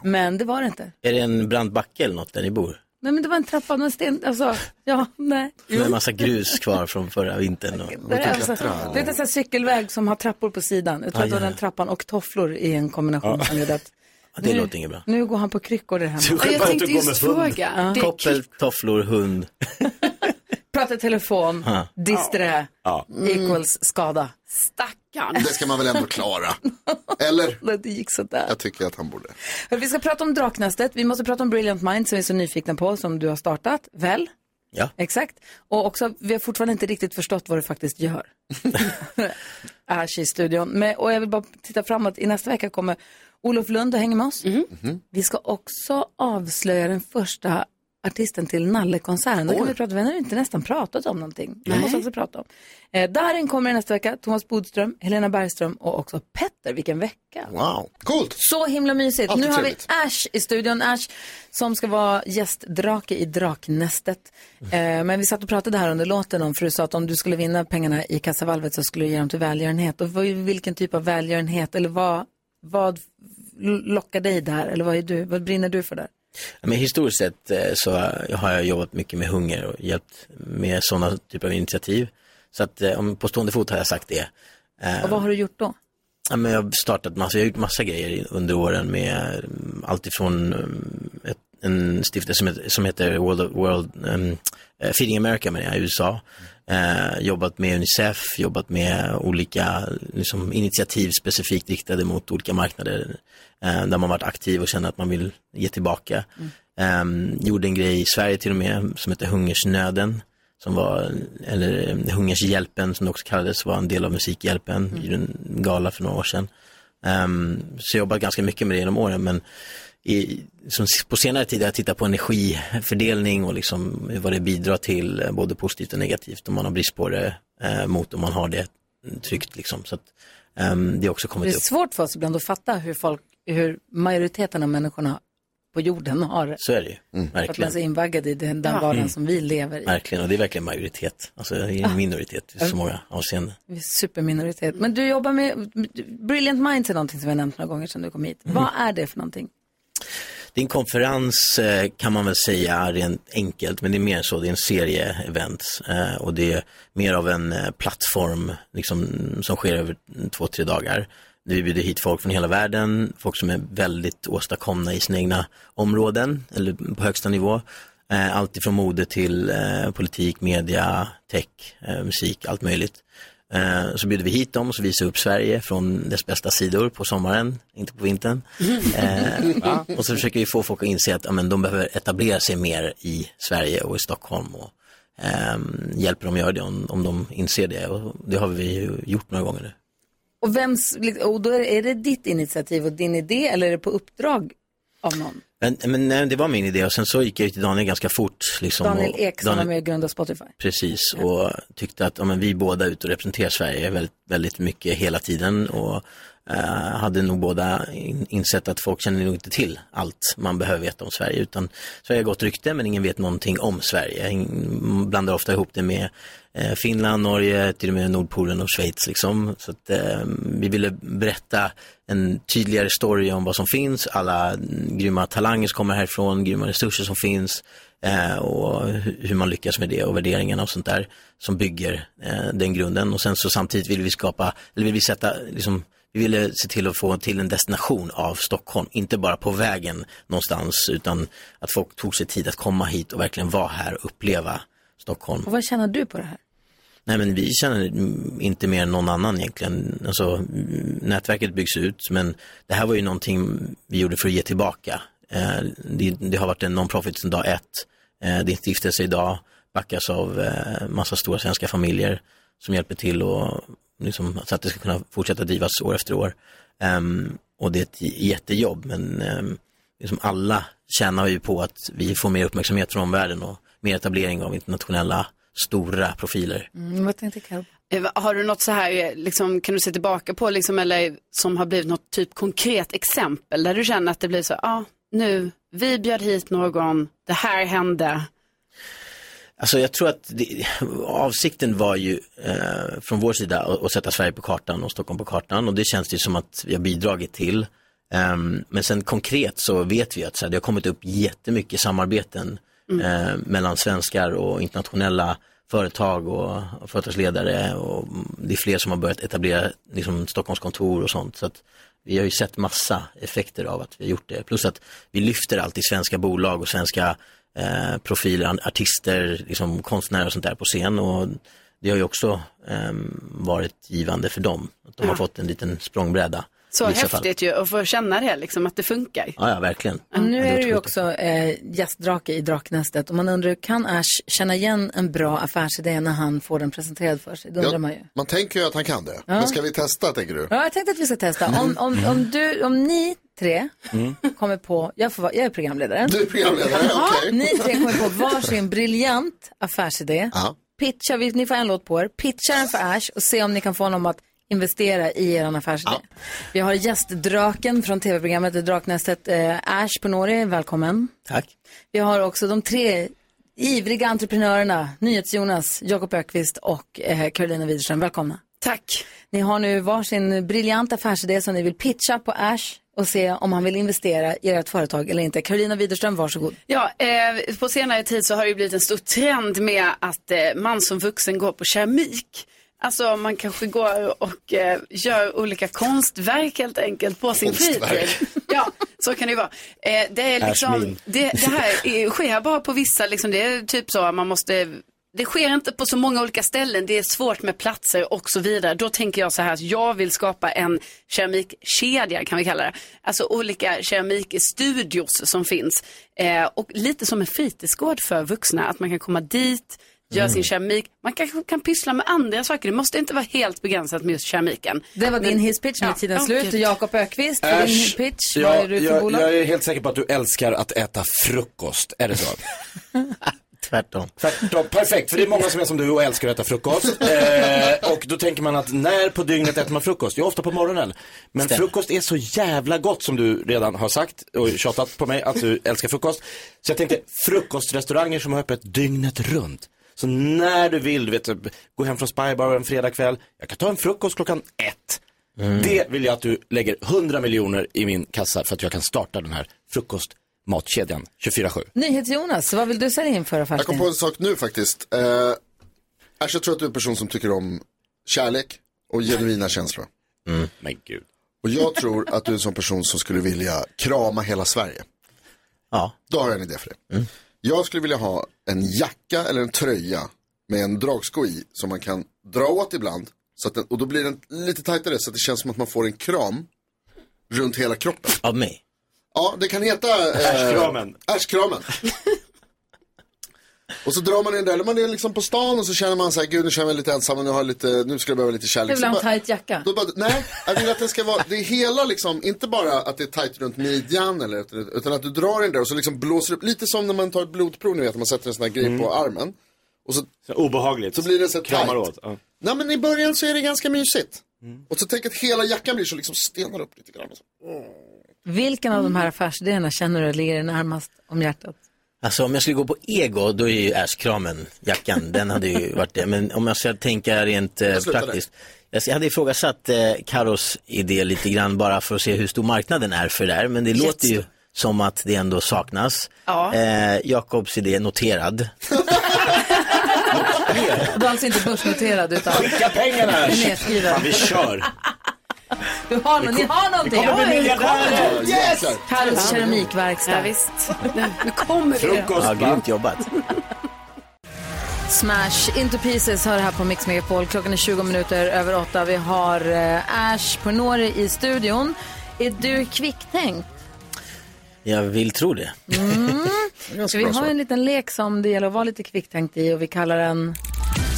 [SPEAKER 1] Men det var det inte.
[SPEAKER 13] Är det en brant backe eller något där ni bor?
[SPEAKER 1] Nej men det var en trappa, med en sten, alltså, ja, nej.
[SPEAKER 13] Med en massa grus kvar från förra vintern. Och...
[SPEAKER 1] Det är, alltså, det är en sån här cykelväg som har trappor på sidan. Jag tror
[SPEAKER 13] Ah,
[SPEAKER 1] att det var
[SPEAKER 13] ja.
[SPEAKER 1] den trappan och tofflor i en kombination
[SPEAKER 13] Ja.
[SPEAKER 1] som gjorde att
[SPEAKER 13] Ja, det
[SPEAKER 1] nu,
[SPEAKER 13] låter inget bra.
[SPEAKER 1] nu går han på kryckor där
[SPEAKER 13] Du
[SPEAKER 1] hemma.
[SPEAKER 13] kan Jag bara tänkte inte gå just med hund. fråga.
[SPEAKER 1] Ja.
[SPEAKER 13] Koppel, tofflor, hund.
[SPEAKER 1] Prata i telefon,
[SPEAKER 13] Ja.
[SPEAKER 1] disträ,
[SPEAKER 13] Ja.
[SPEAKER 1] equals skada.
[SPEAKER 5] Stackarn.
[SPEAKER 2] Det ska man väl ändå klara? Eller?
[SPEAKER 1] Det gick sådär.
[SPEAKER 2] Jag tycker att han borde.
[SPEAKER 1] Vi ska prata om Draknästet, vi måste prata om Brilliant Minds som vi är så nyfikna på, som du har startat, väl?
[SPEAKER 13] Ja.
[SPEAKER 1] Exakt. Och också, vi har fortfarande inte riktigt förstått vad du faktiskt gör. Ash i studion. Men, och jag vill bara titta framåt, i nästa vecka kommer Olof Lund och hänger med oss. Vi ska också avslöja den första artisten till Nallekonserten. Då kan vi prata, vi har inte nästan pratat om någonting. Det måste vi också prata om. Eh, Darin kommer i nästa vecka, Thomas Bodström, Helena Bergström och också Petter. Vilken vecka!
[SPEAKER 2] Wow, coolt!
[SPEAKER 1] Så himla mysigt.
[SPEAKER 2] Alltid
[SPEAKER 1] nu har vi
[SPEAKER 2] trevligt.
[SPEAKER 1] Ash i studion. Ash som ska vara gästdrake i Draknästet.
[SPEAKER 13] Mm.
[SPEAKER 1] Eh, men vi satt och pratade här under låten om, för du sa att om du skulle vinna pengarna i kassavalvet så skulle du ge dem till välgörenhet. Och vad- vilken typ av välgörenhet eller vad, vad lockar dig där? Eller vad, är du, vad brinner du för där?
[SPEAKER 13] Ja, Men historiskt sett eh, så har jag jobbat mycket med hunger och hjälpt med sådana typer av initiativ. Så att eh, om- på stående fot har jag sagt det. Eh,
[SPEAKER 1] Och vad har du gjort då?
[SPEAKER 13] Ja, men jag har startat massa, jag har gjort massa grejer i- under åren med mm, allt ifrån mm, ett, en stiftelse som heter, som heter World, of- World um, Feeding America menar jag, i USA. Eh, jobbat med Unicef, jobbat med olika liksom, initiativ specifikt riktade mot olika marknader eh, där man varit aktiv och känner att man vill ge tillbaka. Ehm, gjorde en grej i Sverige till och med som heter Hungersnöden. Som var, eller eh, Hungershjälpen som det också kallades, var en del av Musikhjälpen. Gjorde en gala för några år sedan. Ehm, så jag har jobbat ganska mycket med det genom åren men i, som, s- på senare tid har jag tittat på energifördelning och liksom vad det bidrar till eh, både positivt och negativt om man har brist på det eh, mot om man har det tryggt liksom. Så att, ehm, det har också
[SPEAKER 1] Det
[SPEAKER 13] kommit
[SPEAKER 1] är
[SPEAKER 13] upp.
[SPEAKER 1] svårt för oss ibland att fatta hur, folk, hur majoriteten av människorna på jorden har det.
[SPEAKER 13] Så är det
[SPEAKER 1] För
[SPEAKER 13] ju,
[SPEAKER 1] att man är så
[SPEAKER 13] verkligen.
[SPEAKER 1] invaggad i den, den
[SPEAKER 13] Ja.
[SPEAKER 1] vardagen
[SPEAKER 13] Mm.
[SPEAKER 1] som vi lever i.
[SPEAKER 13] Verkligen, och det är verkligen majoritet. Alltså det är
[SPEAKER 1] Ja.
[SPEAKER 13] en minoritet i så många avseenden.
[SPEAKER 1] Vi är Superminoritet. Men du jobbar
[SPEAKER 13] Mm.
[SPEAKER 1] med Brilliant Minds är någonting som vi har nämnt några gånger sedan du kom hit. Vad är det för någonting?
[SPEAKER 13] det är en konferens eh, kan man väl säga rent enkelt, men det är mer så, det är en serie events eh, och det är mer av en eh, plattform liksom, som sker över två, tre dagar. Vi bjuder hit folk från hela världen, folk som är väldigt åstadkomna i sina egna områden eller på högsta nivå. Eh, allt ifrån mode till eh, politik, media, tech, eh, musik, allt möjligt. Eh, så bjuder vi hit dem och så visar vi upp Sverige från dess bästa sidor på sommaren, inte på vintern. Eh,
[SPEAKER 12] Va?
[SPEAKER 13] och så försöker vi få folk att inse att ja, men de behöver etablera sig mer i Sverige och i Stockholm. Och, ehm, hjälper dem att göra det om, om de inser det. Och det har vi ju gjort några gånger nu.
[SPEAKER 1] Och, vems, och då är, är det ditt initiativ och din idé eller är det på uppdrag av någon?
[SPEAKER 13] Men, men nej, det var min idé och sen så gick jag ju till Daniel ganska fort. Liksom,
[SPEAKER 1] Daniel
[SPEAKER 13] och-
[SPEAKER 1] Ek som var med och grundade Spotify.
[SPEAKER 13] Precis, och tyckte att ja, men vi båda är ute och representerar Sverige väldigt, väldigt mycket hela tiden och eh, hade nog båda in, insett att folk känner nog inte till allt man behöver veta om Sverige. Utan Sverige har gott rykte men ingen vet någonting om Sverige. Man blandar ofta ihop det med eh, Finland, Norge, till och med Nordpolen och Schweiz. Liksom. Så att, eh, vi ville berätta en tydligare story om vad som finns, alla grymma talanger som kommer härifrån, grymma resurser som finns eh, och hu- hur man lyckas med det och värderingarna och sånt där som bygger eh, den grunden. Och sen så samtidigt vill vi skapa, eller vill vi sätta, liksom, vi ville se till att få till en destination av Stockholm, inte bara på vägen någonstans utan att folk tog sig tid att komma hit och verkligen vara här och uppleva Stockholm.
[SPEAKER 1] Och vad tjänar du på det här?
[SPEAKER 13] Nej men vi känner mm, inte mer än någon annan egentligen. Alltså, mm, nätverket byggs ut men det här var ju någonting vi gjorde för att ge tillbaka. Eh, det, det har varit en non-profit sedan dag ett. Eh, det är en stiftelse idag, backas av eh, massa stora svenska familjer som hjälper till och, liksom, så att det ska kunna fortsätta drivas år efter år. Ehm, och det är ett j- jättejobb men ehm, liksom alla tjänar ju på att vi får mer uppmärksamhet från omvärlden och mer etablering av internationella stora profiler.
[SPEAKER 1] Mm, vad tänkte Karo?
[SPEAKER 5] Eh, Har du något så här, eh, liksom, kan du se tillbaka på, liksom, eller som har blivit något typ konkret exempel där du känner att det blir så, ja, ah, nu, vi bjöd hit någon, det här hände.
[SPEAKER 13] Alltså jag tror att det, avsikten var ju eh, från vår sida att, att sätta Sverige på kartan och Stockholm på kartan och det känns det ju som att vi har bidragit till. Ehm, men sen konkret så vet vi att så här, det har kommit upp jättemycket samarbeten
[SPEAKER 12] Mm.
[SPEAKER 13] eh, mellan svenskar och internationella företag och, och företagsledare och mm, det är fler som har börjat etablera liksom, Stockholmskontor och sånt. Så att vi har ju sett massa effekter av att vi har gjort det. Plus att vi lyfter alltid svenska bolag och svenska eh, profiler, an- artister, liksom, konstnärer och sånt där på scen. Och det har ju också ehm, varit givande för dem. Att de har
[SPEAKER 5] Ja.
[SPEAKER 13] fått en liten språngbräda.
[SPEAKER 5] Så
[SPEAKER 13] i vissa fall.
[SPEAKER 5] häftigt ju att få känna det, liksom, att det funkar.
[SPEAKER 13] Ja, ja, verkligen.
[SPEAKER 1] Nu
[SPEAKER 13] Ja, det
[SPEAKER 1] är
[SPEAKER 13] var
[SPEAKER 1] du ju
[SPEAKER 13] otroligt.
[SPEAKER 1] också eh, gästdrake i Draknästet och man undrar, kan Ash känna igen en bra affärsidé när han får den presenterad för sig? Då undrar
[SPEAKER 2] Ja,
[SPEAKER 1] man ju.
[SPEAKER 2] Man tänker ju att han kan det.
[SPEAKER 1] Ja.
[SPEAKER 2] Men ska vi testa tänker du?
[SPEAKER 1] Ja, jag tänkte att vi ska testa. Om, om, om, du, om ni tre
[SPEAKER 2] Mm.
[SPEAKER 1] kommer på, jag, får, vara- jag är programledaren.
[SPEAKER 2] Du är programledare,
[SPEAKER 1] Jaha,
[SPEAKER 2] okej.
[SPEAKER 1] Ni tre kommer på varsin briljant affärsidé. Pitcha, vi, ni får en låt på er. Pitcha den för Ash och se om ni kan få honom att investera i er affärsidé. Vi har gästdraken från tv-programmet Draknästet. Eh, Ash Ponori, välkommen.
[SPEAKER 13] Tack.
[SPEAKER 1] Vi har också de tre ivriga entreprenörerna, NyhetsJonas, Jakob Ökvist och eh, Carolina Widerström. Välkomna.
[SPEAKER 5] Tack.
[SPEAKER 1] Ni har nu varsin briljant affärsidé som ni vill pitcha på Ash och se om han vill investera i ert företag eller inte. Carolina Widerström, varsågod.
[SPEAKER 5] Ja, eh, på senare tid så har det ju blivit en stor trend med att eh, man som vuxen går på keramik. Alltså man kanske går och eh, gör olika konstverk helt enkelt på sin
[SPEAKER 12] Konstverk.
[SPEAKER 5] fritid. Ja, så kan det ju vara. Eh, det, är
[SPEAKER 12] Ash
[SPEAKER 5] liksom,
[SPEAKER 12] mean.
[SPEAKER 5] det, det här är, sker bara på vissa, liksom, det är typ så att man måste det sker inte på så många olika ställen, det är svårt med platser och så vidare. Då tänker jag så här, att jag vill skapa en keramikkedja kan vi kalla det. Alltså olika keramikstudios som finns. Eh, och lite som en fritidsgård för vuxna, att man kan komma dit, göra
[SPEAKER 1] Mm.
[SPEAKER 5] sin keramik. Man kanske kan pyssla med andra saker, det måste inte vara helt begränsat med just keramiken.
[SPEAKER 1] Det var din hisspitch, nu är tiden slut. Och Jakob Ökvist, din
[SPEAKER 4] Äsch,
[SPEAKER 1] hisspitch,
[SPEAKER 4] jag,
[SPEAKER 1] vad är du för
[SPEAKER 4] jag,
[SPEAKER 1] bolag?
[SPEAKER 4] jag är helt säker på att du älskar att äta frukost, är det så?
[SPEAKER 13] Tvärtom.
[SPEAKER 4] Tvärtom, perfekt. För det är många som är som du och älskar att äta frukost. Eh, och då tänker man att när på dygnet äter man frukost? Jo, ofta på morgonen. Men
[SPEAKER 13] Stämmer.
[SPEAKER 4] frukost är så jävla gott som du redan har sagt och tjatat på mig att du älskar frukost. Så jag tänkte frukostrestauranger som har öppet dygnet runt. Så när du vill, du vet, typ, gå hem från Spybar en fredagkväll. Jag kan ta en frukost klockan ett.
[SPEAKER 13] Mm.
[SPEAKER 4] Det vill jag att du lägger 100 miljoner i min kassa för att jag kan starta den här frukost
[SPEAKER 12] matkedjan 24-7.
[SPEAKER 1] NyhetsJonas, vad vill du sälja in för
[SPEAKER 2] Jag kom
[SPEAKER 1] affärsidé?
[SPEAKER 2] på en sak nu faktiskt. Eh, Ash, jag tror att du är en person som tycker om kärlek och genuina känslor.
[SPEAKER 12] Men gud.
[SPEAKER 2] Och jag tror att du är en sån person som skulle vilja krama hela Sverige.
[SPEAKER 13] Ja.
[SPEAKER 2] Då har jag en idé för dig. Jag skulle vilja ha en jacka eller en tröja med en dragsko i som man kan dra åt ibland. Så att den, och då blir den lite tajtare så att det känns som att man får en kram runt hela kroppen.
[SPEAKER 13] Av mig?
[SPEAKER 2] Ja, det kan heta... eh,
[SPEAKER 4] Ashkramen.
[SPEAKER 2] Ashkramen. och så drar man den där, eller man är liksom på stan och så känner man så här, gud nu känner jag mig lite ensam och nu, har jag lite, nu skulle jag behöva lite
[SPEAKER 1] Du
[SPEAKER 2] kärlek.
[SPEAKER 1] vill
[SPEAKER 2] Så
[SPEAKER 1] ha en
[SPEAKER 2] bara-
[SPEAKER 1] tajt jacka?
[SPEAKER 2] då bara, nej, jag vill att den ska vara, det är hela liksom, inte bara att det är tajt runt midjan eller, utan att du drar den där och så liksom blåser upp, lite som när man tar ett blodprov ni vet, man sätter en sån här grej på armen. Och så,
[SPEAKER 4] obehagligt.
[SPEAKER 2] Så blir det så här
[SPEAKER 4] Kramar
[SPEAKER 2] tajt.
[SPEAKER 4] åt. Ja.
[SPEAKER 2] Nej men i början så är det ganska mysigt. Och så tänk att hela jackan blir så liksom stelnar upp lite grann. Och så.
[SPEAKER 1] Vilken av de här affärsidéerna känner du ligger dig närmast om hjärtat?
[SPEAKER 13] Alltså om jag skulle gå på ego, då är ju Ash-kramen, jackan, den hade ju varit det. Men om jag ska tänka rent eh,
[SPEAKER 12] Jag slutar
[SPEAKER 13] praktiskt. Jag hade ifrågasatt eh, Karos idé lite grann bara för att se hur stor marknaden är för det här. Men det låter ju som att det ändå saknas.
[SPEAKER 1] Ja.
[SPEAKER 13] Eh, Jakobs idé noterad.
[SPEAKER 1] Du är alltså inte börsnoterad utan...
[SPEAKER 4] Skicka pengarna!
[SPEAKER 1] Nedskriven.
[SPEAKER 4] Fan, vi kör.
[SPEAKER 1] Du har,
[SPEAKER 4] Vi
[SPEAKER 1] någon-
[SPEAKER 4] kom-
[SPEAKER 1] ni har någonting!
[SPEAKER 4] vi kommer bli miljardärer.
[SPEAKER 1] Yes!
[SPEAKER 4] Jäklar.
[SPEAKER 1] Carros keramikverkstad.
[SPEAKER 5] Ja, visst. Nu kommer vi.
[SPEAKER 13] Ja, grymt jobbat.
[SPEAKER 1] Smash Into Pieces har det här på Mix Megapol. Klockan är 20 minuter över åtta. Vi har eh, Ash Pornori i studion. Är du kvicktänkt?
[SPEAKER 13] Jag vill tro det.
[SPEAKER 1] Så vi har en liten lek som det gäller att vara lite kvicktänkt i och vi kallar den...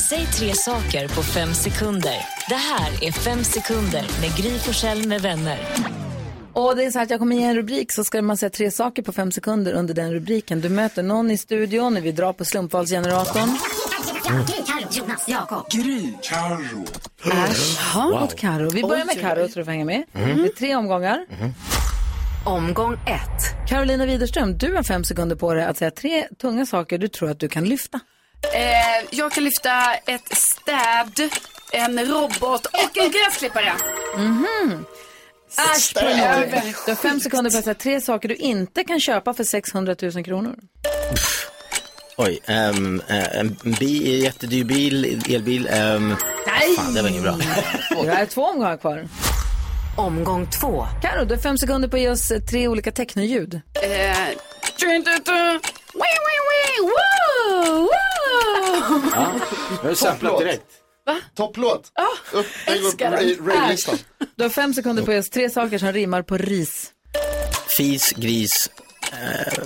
[SPEAKER 14] Säg tre saker på fem sekunder. Det här är Fem sekunder med Gry Forssell med vänner.
[SPEAKER 1] Och det är så här att jag kommer ge en rubrik så ska man säga tre saker på fem sekunder under den rubriken. Du möter någon i studion när vi drar på slumpvalsgeneratorn.
[SPEAKER 14] Jonas, Jakob.
[SPEAKER 1] Gry.
[SPEAKER 14] Carro.
[SPEAKER 1] Ash har
[SPEAKER 14] Wow.
[SPEAKER 1] mot Karo. Vi börjar med
[SPEAKER 14] Oj,
[SPEAKER 1] Karo, tror du får hänga med.
[SPEAKER 14] Mm.
[SPEAKER 1] Det är tre omgångar.
[SPEAKER 14] Omgång ett.
[SPEAKER 1] Carolina Widerström, du har fem sekunder på dig att säga tre tunga saker du tror att du kan lyfta.
[SPEAKER 5] Eh, jag kan lyfta ett städ, en robot och en gräsklippare.
[SPEAKER 1] Mhm. Ash,
[SPEAKER 5] Städ.
[SPEAKER 1] Pernod. du har fem sekunder på att säga tre saker du inte kan köpa för 600 000 kronor.
[SPEAKER 13] Oj, ehm, eh, en bi, en jättedyr bil, elbil. ehm,
[SPEAKER 1] Nej!
[SPEAKER 13] Fan, det var inget bra.
[SPEAKER 1] Du har två omgångar kvar.
[SPEAKER 14] Omgång två.
[SPEAKER 1] Karo, du har fem sekunder på att ge oss eh, tre olika technoljud.
[SPEAKER 5] Eh, tun, tun, tun. Wee, wee, wee. Woo, woo.
[SPEAKER 4] Ja. Jag har samplat direkt.
[SPEAKER 2] Topplåt! Upp, den går på
[SPEAKER 1] Ah, älskar den.
[SPEAKER 2] ra- railistan.
[SPEAKER 1] Du har fem sekunder på att ge oss tre saker som rimmar på ris.
[SPEAKER 13] Fis, gris, eh,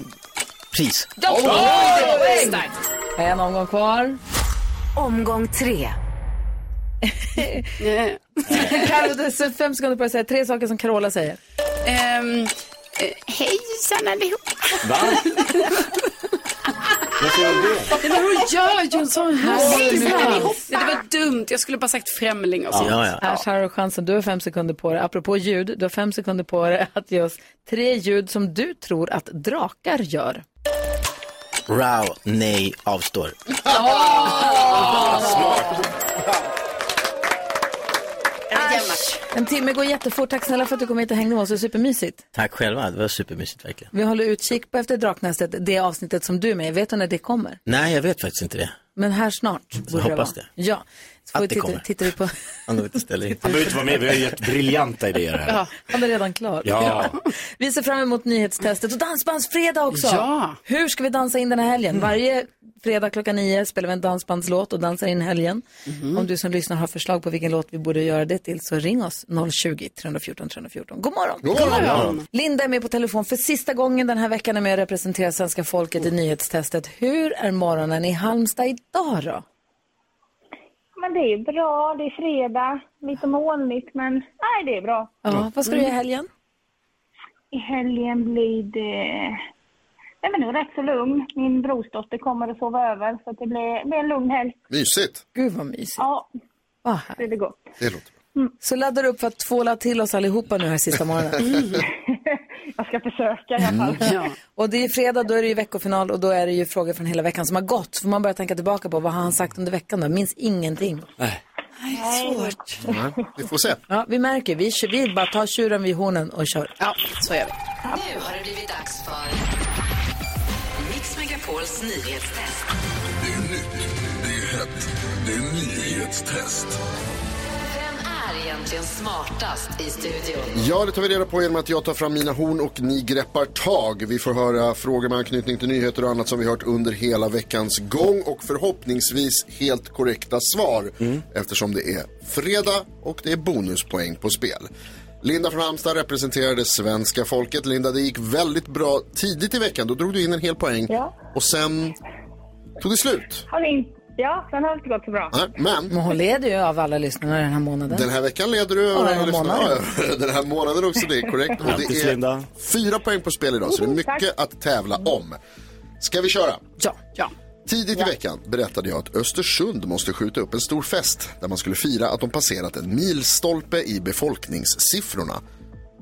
[SPEAKER 13] pris.
[SPEAKER 1] Ja,
[SPEAKER 14] Oj!
[SPEAKER 1] bra! En omgång kvar.
[SPEAKER 14] Omgång tre.
[SPEAKER 5] Eh,
[SPEAKER 1] Karo, du har fem sekunder på att säga tre saker som Carola säger.
[SPEAKER 5] Ehm, eh, Hejsan allihop.
[SPEAKER 4] Va? Varför gör du det?
[SPEAKER 5] Nej, men hon gör ju en sån här
[SPEAKER 1] Herregud.
[SPEAKER 5] Nej, Det var dumt. Jag skulle bara sagt främling och sånt.
[SPEAKER 1] Här har du chansen. Du har fem sekunder på dig. Apropå ljud, du har fem sekunder på dig att ge oss tre ljud som du tror att drakar gör.
[SPEAKER 13] Row, nej, avstår.
[SPEAKER 1] Äsch. En timme går jättefort. Tack snälla för att du kom hit och hängde med oss. Det är supermysigt.
[SPEAKER 13] Tack själva, det var supermysigt verkligen.
[SPEAKER 1] Vi håller utkik på Efter draknästet, det avsnittet som du är med i. Vet du när det kommer?
[SPEAKER 13] Nej, jag vet faktiskt inte det.
[SPEAKER 1] Men här snart. borde
[SPEAKER 13] hoppas
[SPEAKER 1] vara.
[SPEAKER 13] det.
[SPEAKER 1] Ja. Så får
[SPEAKER 13] Att
[SPEAKER 1] vi
[SPEAKER 13] det
[SPEAKER 1] titta,
[SPEAKER 13] kommer.
[SPEAKER 1] tittar vi på...
[SPEAKER 13] Han behöver inte ställa in.
[SPEAKER 4] Han behöver inte vara med, vi har ju gett briljanta idéer här.
[SPEAKER 1] Ja, han är redan klar.
[SPEAKER 4] Ja.
[SPEAKER 1] Vi ser fram emot nyhetstestet och dansbandsfredag också.
[SPEAKER 5] Ja.
[SPEAKER 1] Hur ska vi dansa in den här helgen? Varje fredag klockan nio spelar vi en dansbandslåt och dansar in helgen. Om du som lyssnar har förslag på vilken låt vi borde göra det till så ring oss 020 314 314. God morgon!
[SPEAKER 3] God morgon. God morgon.
[SPEAKER 1] Linda är med på telefon för sista gången den här veckan är med och representerar svenska folket i nyhetstestet. Hur är morgonen i Halmstad idag då?
[SPEAKER 11] Men det är bra, det är fredag, lite molnigt men nej det är bra.
[SPEAKER 1] Ja, Mm. vad ska du göra i helgen?
[SPEAKER 11] I helgen blir det... Nej men det är rätt så lugn. Min brorsdotter kommer att sova över så att det blir, det blir en lugn helg.
[SPEAKER 2] Mysigt.
[SPEAKER 1] Gud vad mysigt.
[SPEAKER 11] Ja,
[SPEAKER 1] Vad
[SPEAKER 11] det är det gott.
[SPEAKER 2] Det låter
[SPEAKER 1] Ah, Så laddar du upp för att tvåla till oss allihopa nu här sista morgonen.
[SPEAKER 11] Jag ska försöka i alla
[SPEAKER 5] Mm,
[SPEAKER 11] fall.
[SPEAKER 1] Och det är fredag, då är det ju veckofinal och då är det ju frågor från hela veckan som har gått. Får man börja tänka tillbaka på vad har han sagt under veckan då? Minns ingenting.
[SPEAKER 11] Nej, svårt.
[SPEAKER 2] Vi får se.
[SPEAKER 1] Ja, vi märker, vi, kör, vi bara tar tjuren vid hornen och kör.
[SPEAKER 5] Ja, så är vi.
[SPEAKER 14] Nu har det blivit dags för
[SPEAKER 10] Megapols nyhetstest.
[SPEAKER 15] Det är nytt, det är hett, det är nyhetstest.
[SPEAKER 10] Vem är egentligen smartast i studion?
[SPEAKER 2] Ja, det tar vi reda på genom att jag tar fram mina horn och ni greppar tag. Vi får höra frågor med anknytning till nyheter och annat som vi hört under hela veckans gång och förhoppningsvis helt korrekta svar eftersom det är fredag och det är bonuspoäng på spel. Linda från Halmstad representerade svenska folket. Linda, det gick väldigt bra tidigt i veckan. Då drog du in en hel poäng
[SPEAKER 11] Ja.
[SPEAKER 2] och sen tog det slut.
[SPEAKER 11] Har ni inte... Ja, sen har det inte gått så bra.
[SPEAKER 2] Nej, Men
[SPEAKER 1] Men hon leder ju av alla lyssnarna den här månaden.
[SPEAKER 2] Den här veckan leder du
[SPEAKER 1] den
[SPEAKER 2] över
[SPEAKER 1] här
[SPEAKER 2] alla lyssnare.
[SPEAKER 1] månaden.
[SPEAKER 2] Ja, ja. Den här månaden också, det är korrekt. Och det
[SPEAKER 4] Grattis,
[SPEAKER 2] är fyra poäng på spel idag, så det är mycket att tävla om. Ska vi köra?
[SPEAKER 1] Ja.
[SPEAKER 2] Tidigt i veckan berättade jag att Östersund måste skjuta upp en stor fest där man skulle fira att de passerat en milstolpe i befolkningssiffrorna.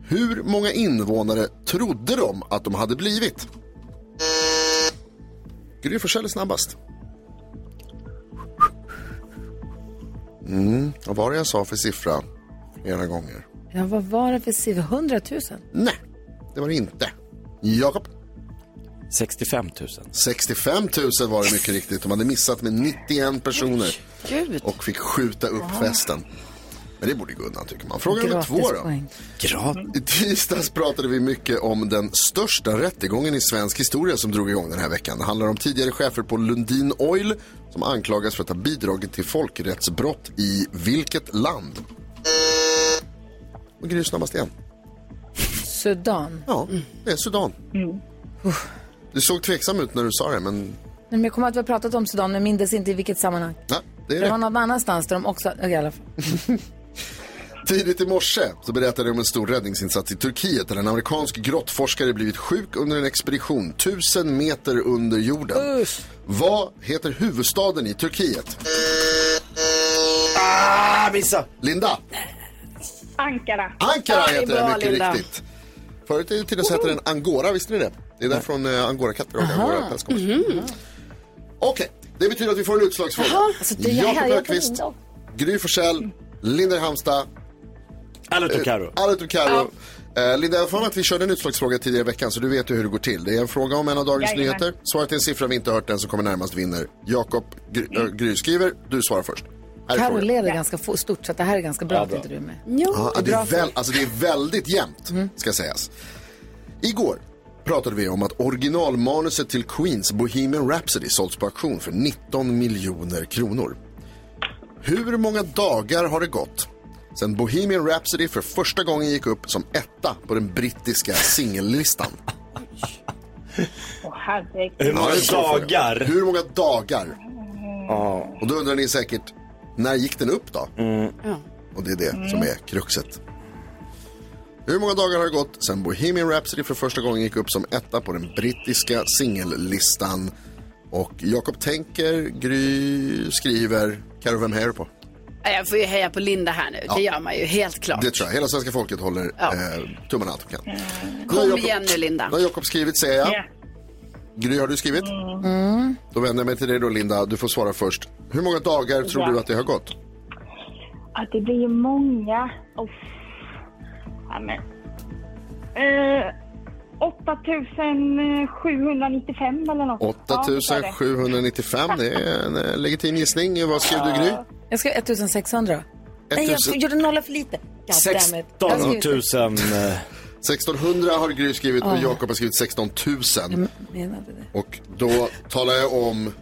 [SPEAKER 2] Hur många invånare trodde de att de hade blivit? Gry Forssell är snabbast. Mm, vad var det jag sa för siffra flera gånger?
[SPEAKER 1] Ja, vad var det för siffra? 100 000?
[SPEAKER 2] Nej, det var det inte. Jakob?
[SPEAKER 12] 65 000.
[SPEAKER 2] 65 000 var det mycket riktigt. De hade missat med 91 personer
[SPEAKER 1] Gud.
[SPEAKER 2] och fick skjuta upp
[SPEAKER 1] Wow.
[SPEAKER 2] festen. Men det borde Gunnar tycker man. Fråga nummer två då.
[SPEAKER 1] Gratispoäng.
[SPEAKER 2] I tisdags pratade vi mycket om den största rättegången i svensk historia som drog igång den här veckan. Det handlar om tidigare chefer på Lundin Oil som anklagas för att ha bidragit till folkrättsbrott i vilket land? Och Gry snabbast igen.
[SPEAKER 1] Sudan.
[SPEAKER 2] Ja, det är Sudan. Du såg tveksam ut när du sa det, men
[SPEAKER 1] Nej, Men jag kommer att vi har pratat om Sudan, men mindes inte i vilket sammanhang.
[SPEAKER 2] nej, det är
[SPEAKER 1] Det,
[SPEAKER 2] rätt.
[SPEAKER 1] var någon annanstans där de också... Okej, i alla fall.
[SPEAKER 2] Tidigt i morse så berättade jag om en stor räddningsinsats i Turkiet där en amerikansk grottforskare blivit sjuk under en expedition tusen meter under jorden. Vad heter huvudstaden i Turkiet? Ah, missa! Linda!
[SPEAKER 11] Ankara.
[SPEAKER 2] Ankara
[SPEAKER 11] Ja, är
[SPEAKER 2] heter
[SPEAKER 11] bra,
[SPEAKER 2] den mycket
[SPEAKER 11] Linda.
[SPEAKER 2] riktigt. Förut i tiden så hette den Angora, visste ni det? Det är därifrån eh, angorakatter och angorapäls
[SPEAKER 11] Mhm.
[SPEAKER 2] Okej, det betyder att vi får en utslagsfråga.
[SPEAKER 1] Jaha, alltså det- jag- jag-
[SPEAKER 2] Jakob
[SPEAKER 1] jag-
[SPEAKER 2] Öqvist, Gry Forssell, Linda i Halmstad. Eh,
[SPEAKER 4] Alot och Karo.
[SPEAKER 2] Alot och Karo. Eh, Linda, jag har för mig att vi körde en utslagsfråga tidigare i veckan så du vet ju hur det går till. Det är en fråga om en av dagens
[SPEAKER 4] Jajamän.
[SPEAKER 2] nyheter. Svaret är en siffra vi inte hört, den som kommer närmast vinner. Jakob Gry, äh, Gry skriver, du svarar först. Här är
[SPEAKER 1] Carro
[SPEAKER 2] frågan.
[SPEAKER 1] leder ganska få- stort, så att det här är ganska bra att inte du är med.
[SPEAKER 2] Ja, det, är väl, alltså det är väldigt jämnt, ska sägas. Igår pratade vi om att originalmanuset till Queens Bohemian Rhapsody sålts på auktion för 19 miljoner kronor. Hur många dagar har det gått sedan Bohemian Rhapsody för första gången gick upp som etta på den brittiska singellistan?
[SPEAKER 11] Åh, herregud.
[SPEAKER 2] Ja, det är en bra fråga. Hur många dagar? Och då undrar ni säkert, när gick den upp då?
[SPEAKER 5] Mm.
[SPEAKER 11] Ja.
[SPEAKER 2] Och det är det som är kruxet. Hur många dagar har det gått sedan Bohemian Rhapsody för första gången gick upp som etta på den brittiska singellistan? Och Jakob tänker, Gry skriver, Carro vem hejar du på?
[SPEAKER 5] Ja, Jag får ju heja på Linda här nu.
[SPEAKER 2] Ja.
[SPEAKER 5] Det gör man ju helt klart.
[SPEAKER 2] Det tror jag, hela svenska folket håller
[SPEAKER 5] Ja. Mm.
[SPEAKER 2] eh, tummarna allt de kan.
[SPEAKER 5] Kom igen nu Linda.
[SPEAKER 2] Då har Jakob skrivit säger jag. Gry har du skrivit?
[SPEAKER 1] Mm.
[SPEAKER 2] Då vänder jag mig till dig då Linda, du får svara först. Hur många dagar tror
[SPEAKER 11] Ja.
[SPEAKER 2] du att det har gått?
[SPEAKER 11] Att det blir ju många. Oh. Ja, men. Eh, 8795 eller något. Ja, det sa det.
[SPEAKER 2] 8795, det är en eh, legitim gissning. Vad skrev du Gry?
[SPEAKER 1] Jag skrev 1600. Nej, jag
[SPEAKER 2] 1000.
[SPEAKER 1] gjorde nolla för lite. God damn it. Jag har skrivit-
[SPEAKER 4] eh,
[SPEAKER 2] 1600 har Gry skrivit och
[SPEAKER 1] Ja. Mm.
[SPEAKER 2] Jakob har skrivit 16 000.
[SPEAKER 1] menade det.
[SPEAKER 2] Och då talar jag om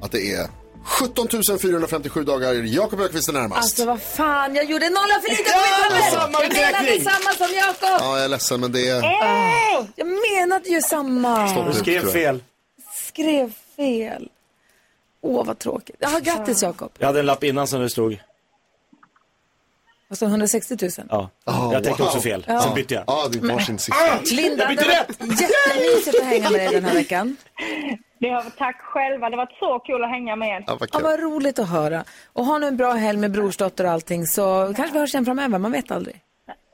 [SPEAKER 2] att det är 17 457 dagar. Jakob Öqvist är närmast.
[SPEAKER 1] Alltså vad fan, jag gjorde nolla för lite på
[SPEAKER 10] Ja,
[SPEAKER 1] mitt papper!
[SPEAKER 10] samma
[SPEAKER 1] Jag menade
[SPEAKER 10] uträkning.
[SPEAKER 1] samma som Jakob!
[SPEAKER 2] Ja, jag är ledsen men det är...
[SPEAKER 11] Eh!
[SPEAKER 1] Ah, Jag menade ju samma.
[SPEAKER 2] Stopp ut, Du skrev tror jag. fel.
[SPEAKER 1] Skrev fel. Åh, vad tråkigt. Jaha, grattis Jakob.
[SPEAKER 4] Jag hade en lapp innan som det stod.
[SPEAKER 1] Alltså 160 000.
[SPEAKER 4] Ja.
[SPEAKER 2] Ah,
[SPEAKER 4] jag tänkte också fel.
[SPEAKER 1] Ja.
[SPEAKER 4] Sen bytte jag.
[SPEAKER 2] Ja, det är varsin
[SPEAKER 1] Ah, Linda, det var jättemysigt att hänga med dig den här veckan.
[SPEAKER 11] Det har, tack själva, det har varit så kul att hänga med er.
[SPEAKER 1] Ja, vad roligt att höra. Och ha nu en bra helg med brorsdotter och allting så kanske vi hörs igen framöver, man vet aldrig.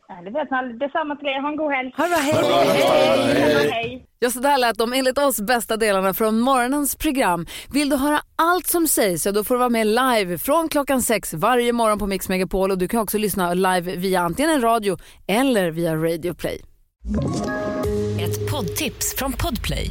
[SPEAKER 11] Ja, Det vet man aldrig. Detsamma till er, ha en god helg.
[SPEAKER 1] Ha det bra,
[SPEAKER 11] hej. hej.
[SPEAKER 16] Ja, så där lät de enligt oss bästa delarna från morgonens program. Vill du höra allt som sägs så då får du vara med live från klockan sex varje morgon på Mix Megapol och du kan också lyssna live via antingen en radio eller via Radio Play.
[SPEAKER 14] Ett poddtips från Podplay.